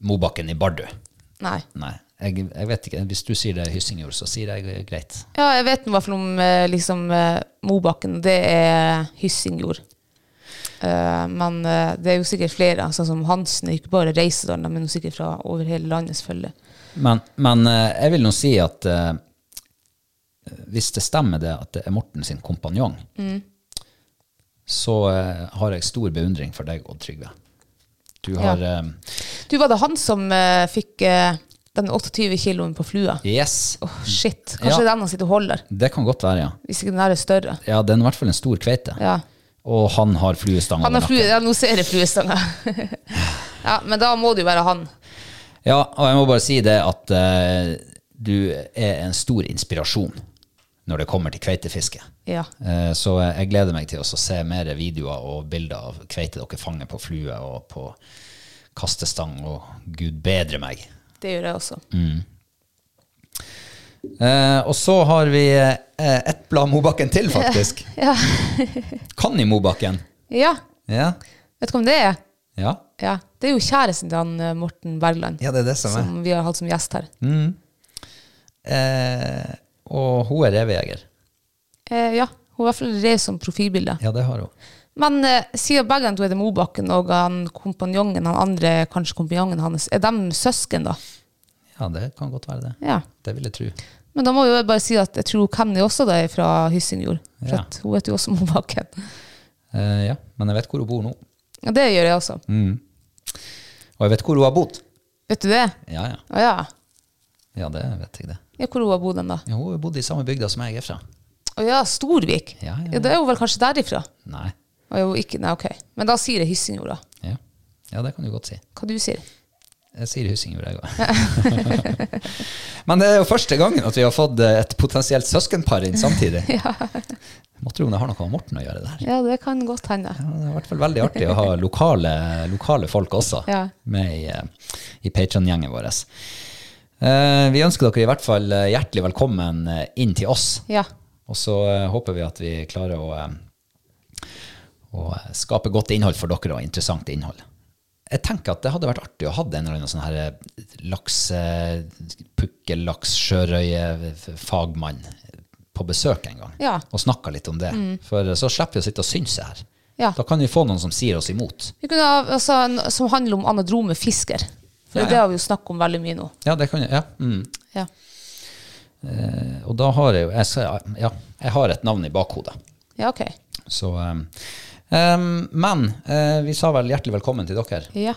[SPEAKER 3] Mobakken i Bardu.
[SPEAKER 4] Nei.
[SPEAKER 3] Nei. Jeg, jeg vet ikke. Hvis du sier det er Hyssingjord, så sier jeg eh, greit.
[SPEAKER 4] Ja, jeg vet i hvert fall om eh, liksom, eh, Mobakken. Det er Hyssingjord. Eh, men eh, det er jo sikkert flere, sånn som Hansen. er jo Ikke bare Reisedalen, men sikkert fra over hele landet, selvfølgelig.
[SPEAKER 3] Men, men eh, jeg vil nå si at eh, hvis det stemmer det at det er Morten sin kompanjong,
[SPEAKER 4] Mm.
[SPEAKER 3] så eh, har jeg stor beundring for deg, Odd Trygve. Du har eh,
[SPEAKER 4] Du, var det han som eh, fikk eh, den 28 kiloen på flua?
[SPEAKER 3] Yes,
[SPEAKER 4] Åh, shit.
[SPEAKER 3] Ja.
[SPEAKER 4] Kanskje det er den han sitter og holder,
[SPEAKER 3] det kan godt være, ja.
[SPEAKER 4] hvis ikke den der er større.
[SPEAKER 3] Ja, Det er i hvert fall en stor kveite.
[SPEAKER 4] Ja.
[SPEAKER 3] Og han har fluestang
[SPEAKER 4] Han
[SPEAKER 3] over
[SPEAKER 4] har flue,
[SPEAKER 3] nakken.
[SPEAKER 4] ja, nå ser jeg fluestanga. ja, men da må det jo være han.
[SPEAKER 3] Ja, og jeg må bare si det at eh, du er en stor inspirasjon når det kommer til kveitefiske.
[SPEAKER 4] Ja.
[SPEAKER 3] Eh, Så jeg gleder meg til å se mer videoer og bilder av kveite dere fanger på flue og på kastestang, og gud bedre meg.
[SPEAKER 4] Det gjør jeg også.
[SPEAKER 3] Mm. Eh, og så har vi eh, ett blad Mobakken til, faktisk.
[SPEAKER 4] Ja.
[SPEAKER 3] Kan i Mobakken.
[SPEAKER 4] ja.
[SPEAKER 3] Ja.
[SPEAKER 4] Vet du hva det er?
[SPEAKER 3] Ja.
[SPEAKER 4] Ja. Det er jo kjæresten til han eh, Morten Bergland,
[SPEAKER 3] ja, det Mm. er det som er.
[SPEAKER 4] som vi har hatt som gjest her.
[SPEAKER 3] Eh, og hun er revejeger.
[SPEAKER 4] Eh, ja. Hun i hvert fall rev som profilbilde.
[SPEAKER 3] Ja, det har hun.
[SPEAKER 4] Men eh, siden begge to er det Mobakken og han kompanjongen, han andre kanskje kompanjongen hans, er de søsken, da?
[SPEAKER 3] Ja, det kan godt være det.
[SPEAKER 4] Ja.
[SPEAKER 3] Det vil jeg tro.
[SPEAKER 4] Men da må jo jeg bare si at jeg tror Kenny også da er fra Hyssingjord. For
[SPEAKER 3] Ja.
[SPEAKER 4] at hun heter jo også Mobakken.
[SPEAKER 3] Eh, ja, men jeg vet hvor hun bor nå. Mm.
[SPEAKER 4] Ja, det gjør jeg også.
[SPEAKER 3] Og jeg vet hvor hun har bodd.
[SPEAKER 4] Vet du det?
[SPEAKER 3] Ja, ja.
[SPEAKER 4] Å ja.
[SPEAKER 3] Ja, det vet jeg det.
[SPEAKER 4] ja hvor hun har bodd hen, da?
[SPEAKER 3] Ja, hun har bodd i samme bygda som jeg er fra.
[SPEAKER 4] Å ja, Storvik.
[SPEAKER 3] Ja, ja, ja.
[SPEAKER 4] det er jo vel kanskje derifra?
[SPEAKER 3] Nei.
[SPEAKER 4] Å, jo, ikke, nei, ok. Men da sier jeg Hyssingjord, da.
[SPEAKER 3] Ja. ja, det kan du godt si.
[SPEAKER 4] Hva du sier
[SPEAKER 3] Jeg sier Husingjord, jeg òg. Men det er jo første gangen at vi har fått eh, et potensielt søskenpar inn samtidig. Må tro om det har noe med Morten å gjøre, det her.
[SPEAKER 4] Ja, det kan godt hende.
[SPEAKER 3] Ja, det er i hvert fall veldig artig å ha lokale, lokale folk også
[SPEAKER 4] Ja.
[SPEAKER 3] med i, eh, i Patreon-gjengen vår. Eh, Vi ønsker dere i hvert fall eh, hjertelig velkommen eh, inn til oss.
[SPEAKER 4] Ja.
[SPEAKER 3] Og så eh, håper vi at vi klarer å, eh, å eh, skape godt innhold for dere og interessant innhold. Jeg tenker at det hadde vært artig å ha en eller annen sånn her eh, laks, eh, pukkellaks, sjørøye, f- fagmann på besøk en gang.
[SPEAKER 4] Ja. Mm.
[SPEAKER 3] Og snakka litt om det. For eh, så slipper vi å sitte og synse her.
[SPEAKER 4] Ja.
[SPEAKER 3] Da kan vi få noen som sier oss imot.
[SPEAKER 4] Vi kunne ha, altså, en som handler om anadrome fisker. For
[SPEAKER 3] Ja, ja.
[SPEAKER 4] det har vi jo snakket om veldig mye nå.
[SPEAKER 3] Ja, det kan jeg. Ja. Mm.
[SPEAKER 4] Ja.
[SPEAKER 3] Og da har jeg jo jeg, sa- ja, jeg har et navn i bakhodet.
[SPEAKER 4] Ja, ok.
[SPEAKER 3] Så, um, um, men eh, vi sa vel hjertelig velkommen til dere.
[SPEAKER 4] Ja.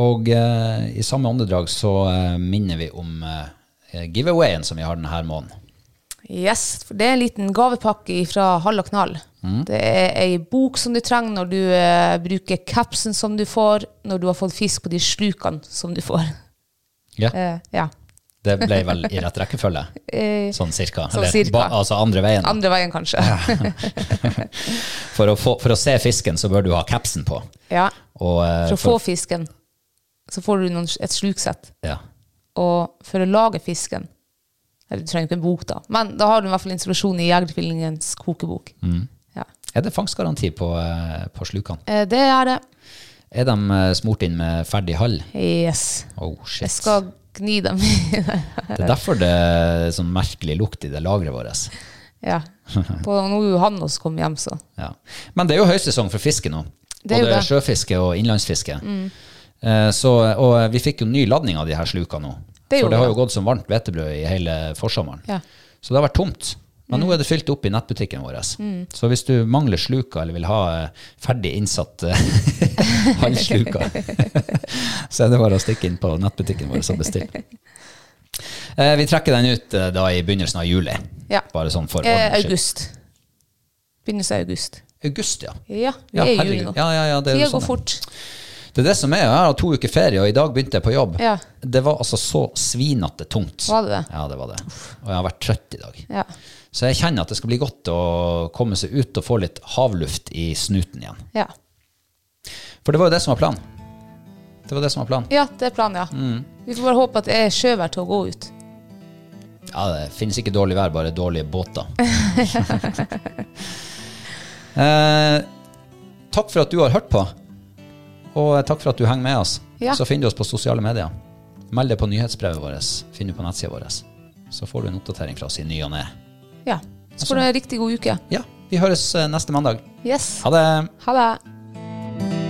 [SPEAKER 3] Og eh, i samme åndedrag så eh, minner vi om eh, giveawayen som vi har denne måneden.
[SPEAKER 4] Yes, for det er en liten gavepakke fra Hall og Knall. Det er ei bok som du trenger når du eh, bruker capsen som du får, når du har fått fisk på de slukene som du får.
[SPEAKER 3] Ja.
[SPEAKER 4] Eh, ja.
[SPEAKER 3] Det ble vel i rett rekkefølge,
[SPEAKER 4] Eh,
[SPEAKER 3] sånn cirka.
[SPEAKER 4] Sånn cirka.
[SPEAKER 3] ba- altså andre veien. da.
[SPEAKER 4] andre veien, kanskje. Ja.
[SPEAKER 3] For, å få, for å se fisken så bør du ha capsen på. Og, eh,
[SPEAKER 4] For å få fisken, så får du noen, et sluksett.
[SPEAKER 3] ja.
[SPEAKER 4] Og for å lage fisken Eller du trenger ikke en bok, da, men da har du i hvert fall inspirasjon i Jegertvillingens kokebok. Ja.
[SPEAKER 3] Er det fangstgaranti på, eh, på slukene?
[SPEAKER 4] Eh, det er det.
[SPEAKER 3] Er de eh, smurt inn med ferdig hall?
[SPEAKER 4] Yes.
[SPEAKER 3] Oh, shit.
[SPEAKER 4] Jeg skal gni dem i
[SPEAKER 3] Det er derfor det er sånn merkelig lukt i det lageret vårt.
[SPEAKER 4] Ja. På nå er jo han også kommet hjem, så.
[SPEAKER 3] Ja. Men det er jo høysesong for fiske nå.
[SPEAKER 4] Det er jo
[SPEAKER 3] Både
[SPEAKER 4] det. Mm.
[SPEAKER 3] sjøfiske og innlandsfiske. Eh, så, og vi fikk jo ny ladning av de her sluka nå.
[SPEAKER 4] Det gjorde
[SPEAKER 3] For det har
[SPEAKER 4] vi,
[SPEAKER 3] jo gått som varmt hvetebrød i hele forsommeren.
[SPEAKER 4] Ja. Mm.
[SPEAKER 3] Så det har vært tomt. Men nå er det fylt opp i nettbutikken vår. Så hvis du mangler sluka eller vil ha eh, ferdig innsatt eh, halvsluka, så er det bare å stikke inn på nettbutikken vår og bestille. Eh, vi trekker den ut eh, da i begynnelsen av juli.
[SPEAKER 4] Ja.
[SPEAKER 3] Bare sånn for
[SPEAKER 4] Eh,
[SPEAKER 3] ordens skyld.
[SPEAKER 4] august. Begynnelsen av august.
[SPEAKER 3] August, ja.
[SPEAKER 4] Ja, vi
[SPEAKER 3] Ja,
[SPEAKER 4] er i juli
[SPEAKER 3] herregud.
[SPEAKER 4] nå.
[SPEAKER 3] Ja, ja, ja, det er jo
[SPEAKER 4] Tida
[SPEAKER 3] sånn, ja.
[SPEAKER 4] går fort.
[SPEAKER 3] Det er det som er. Jeg har to uker ferie, og i dag begynte jeg på jobb.
[SPEAKER 4] Ja.
[SPEAKER 3] Det var altså så svinete tungt.
[SPEAKER 4] Var det det?
[SPEAKER 3] Ja, det var det. Og jeg har vært trøtt i dag.
[SPEAKER 4] Ja.
[SPEAKER 3] Så jeg kjenner at det skal bli godt å komme seg ut og få litt havluft i snuten igjen.
[SPEAKER 4] Ja.
[SPEAKER 3] For det var jo det som var planen. Det var det som var planen.
[SPEAKER 4] ja, det er planen, ja.
[SPEAKER 3] Mm.
[SPEAKER 4] Vi får bare håpe at det er sjøvær til å gå ut.
[SPEAKER 3] Ja, det finnes ikke dårlig vær, bare dårlige båter. eh, takk for at du har hørt på, og takk for at du henger med oss.
[SPEAKER 4] Ja.
[SPEAKER 3] Så finner du oss på sosiale medier. Meld deg på nyhetsbrevet vårt, finner du på nettsida vår. Så får du en oppdatering fra oss i ny og ne.
[SPEAKER 4] Ja. Så
[SPEAKER 3] sånn.
[SPEAKER 4] får du en riktig god uke.
[SPEAKER 3] Ja, vi høres eh, neste mandag.
[SPEAKER 4] Yes.
[SPEAKER 3] Ha det!
[SPEAKER 4] Ha det.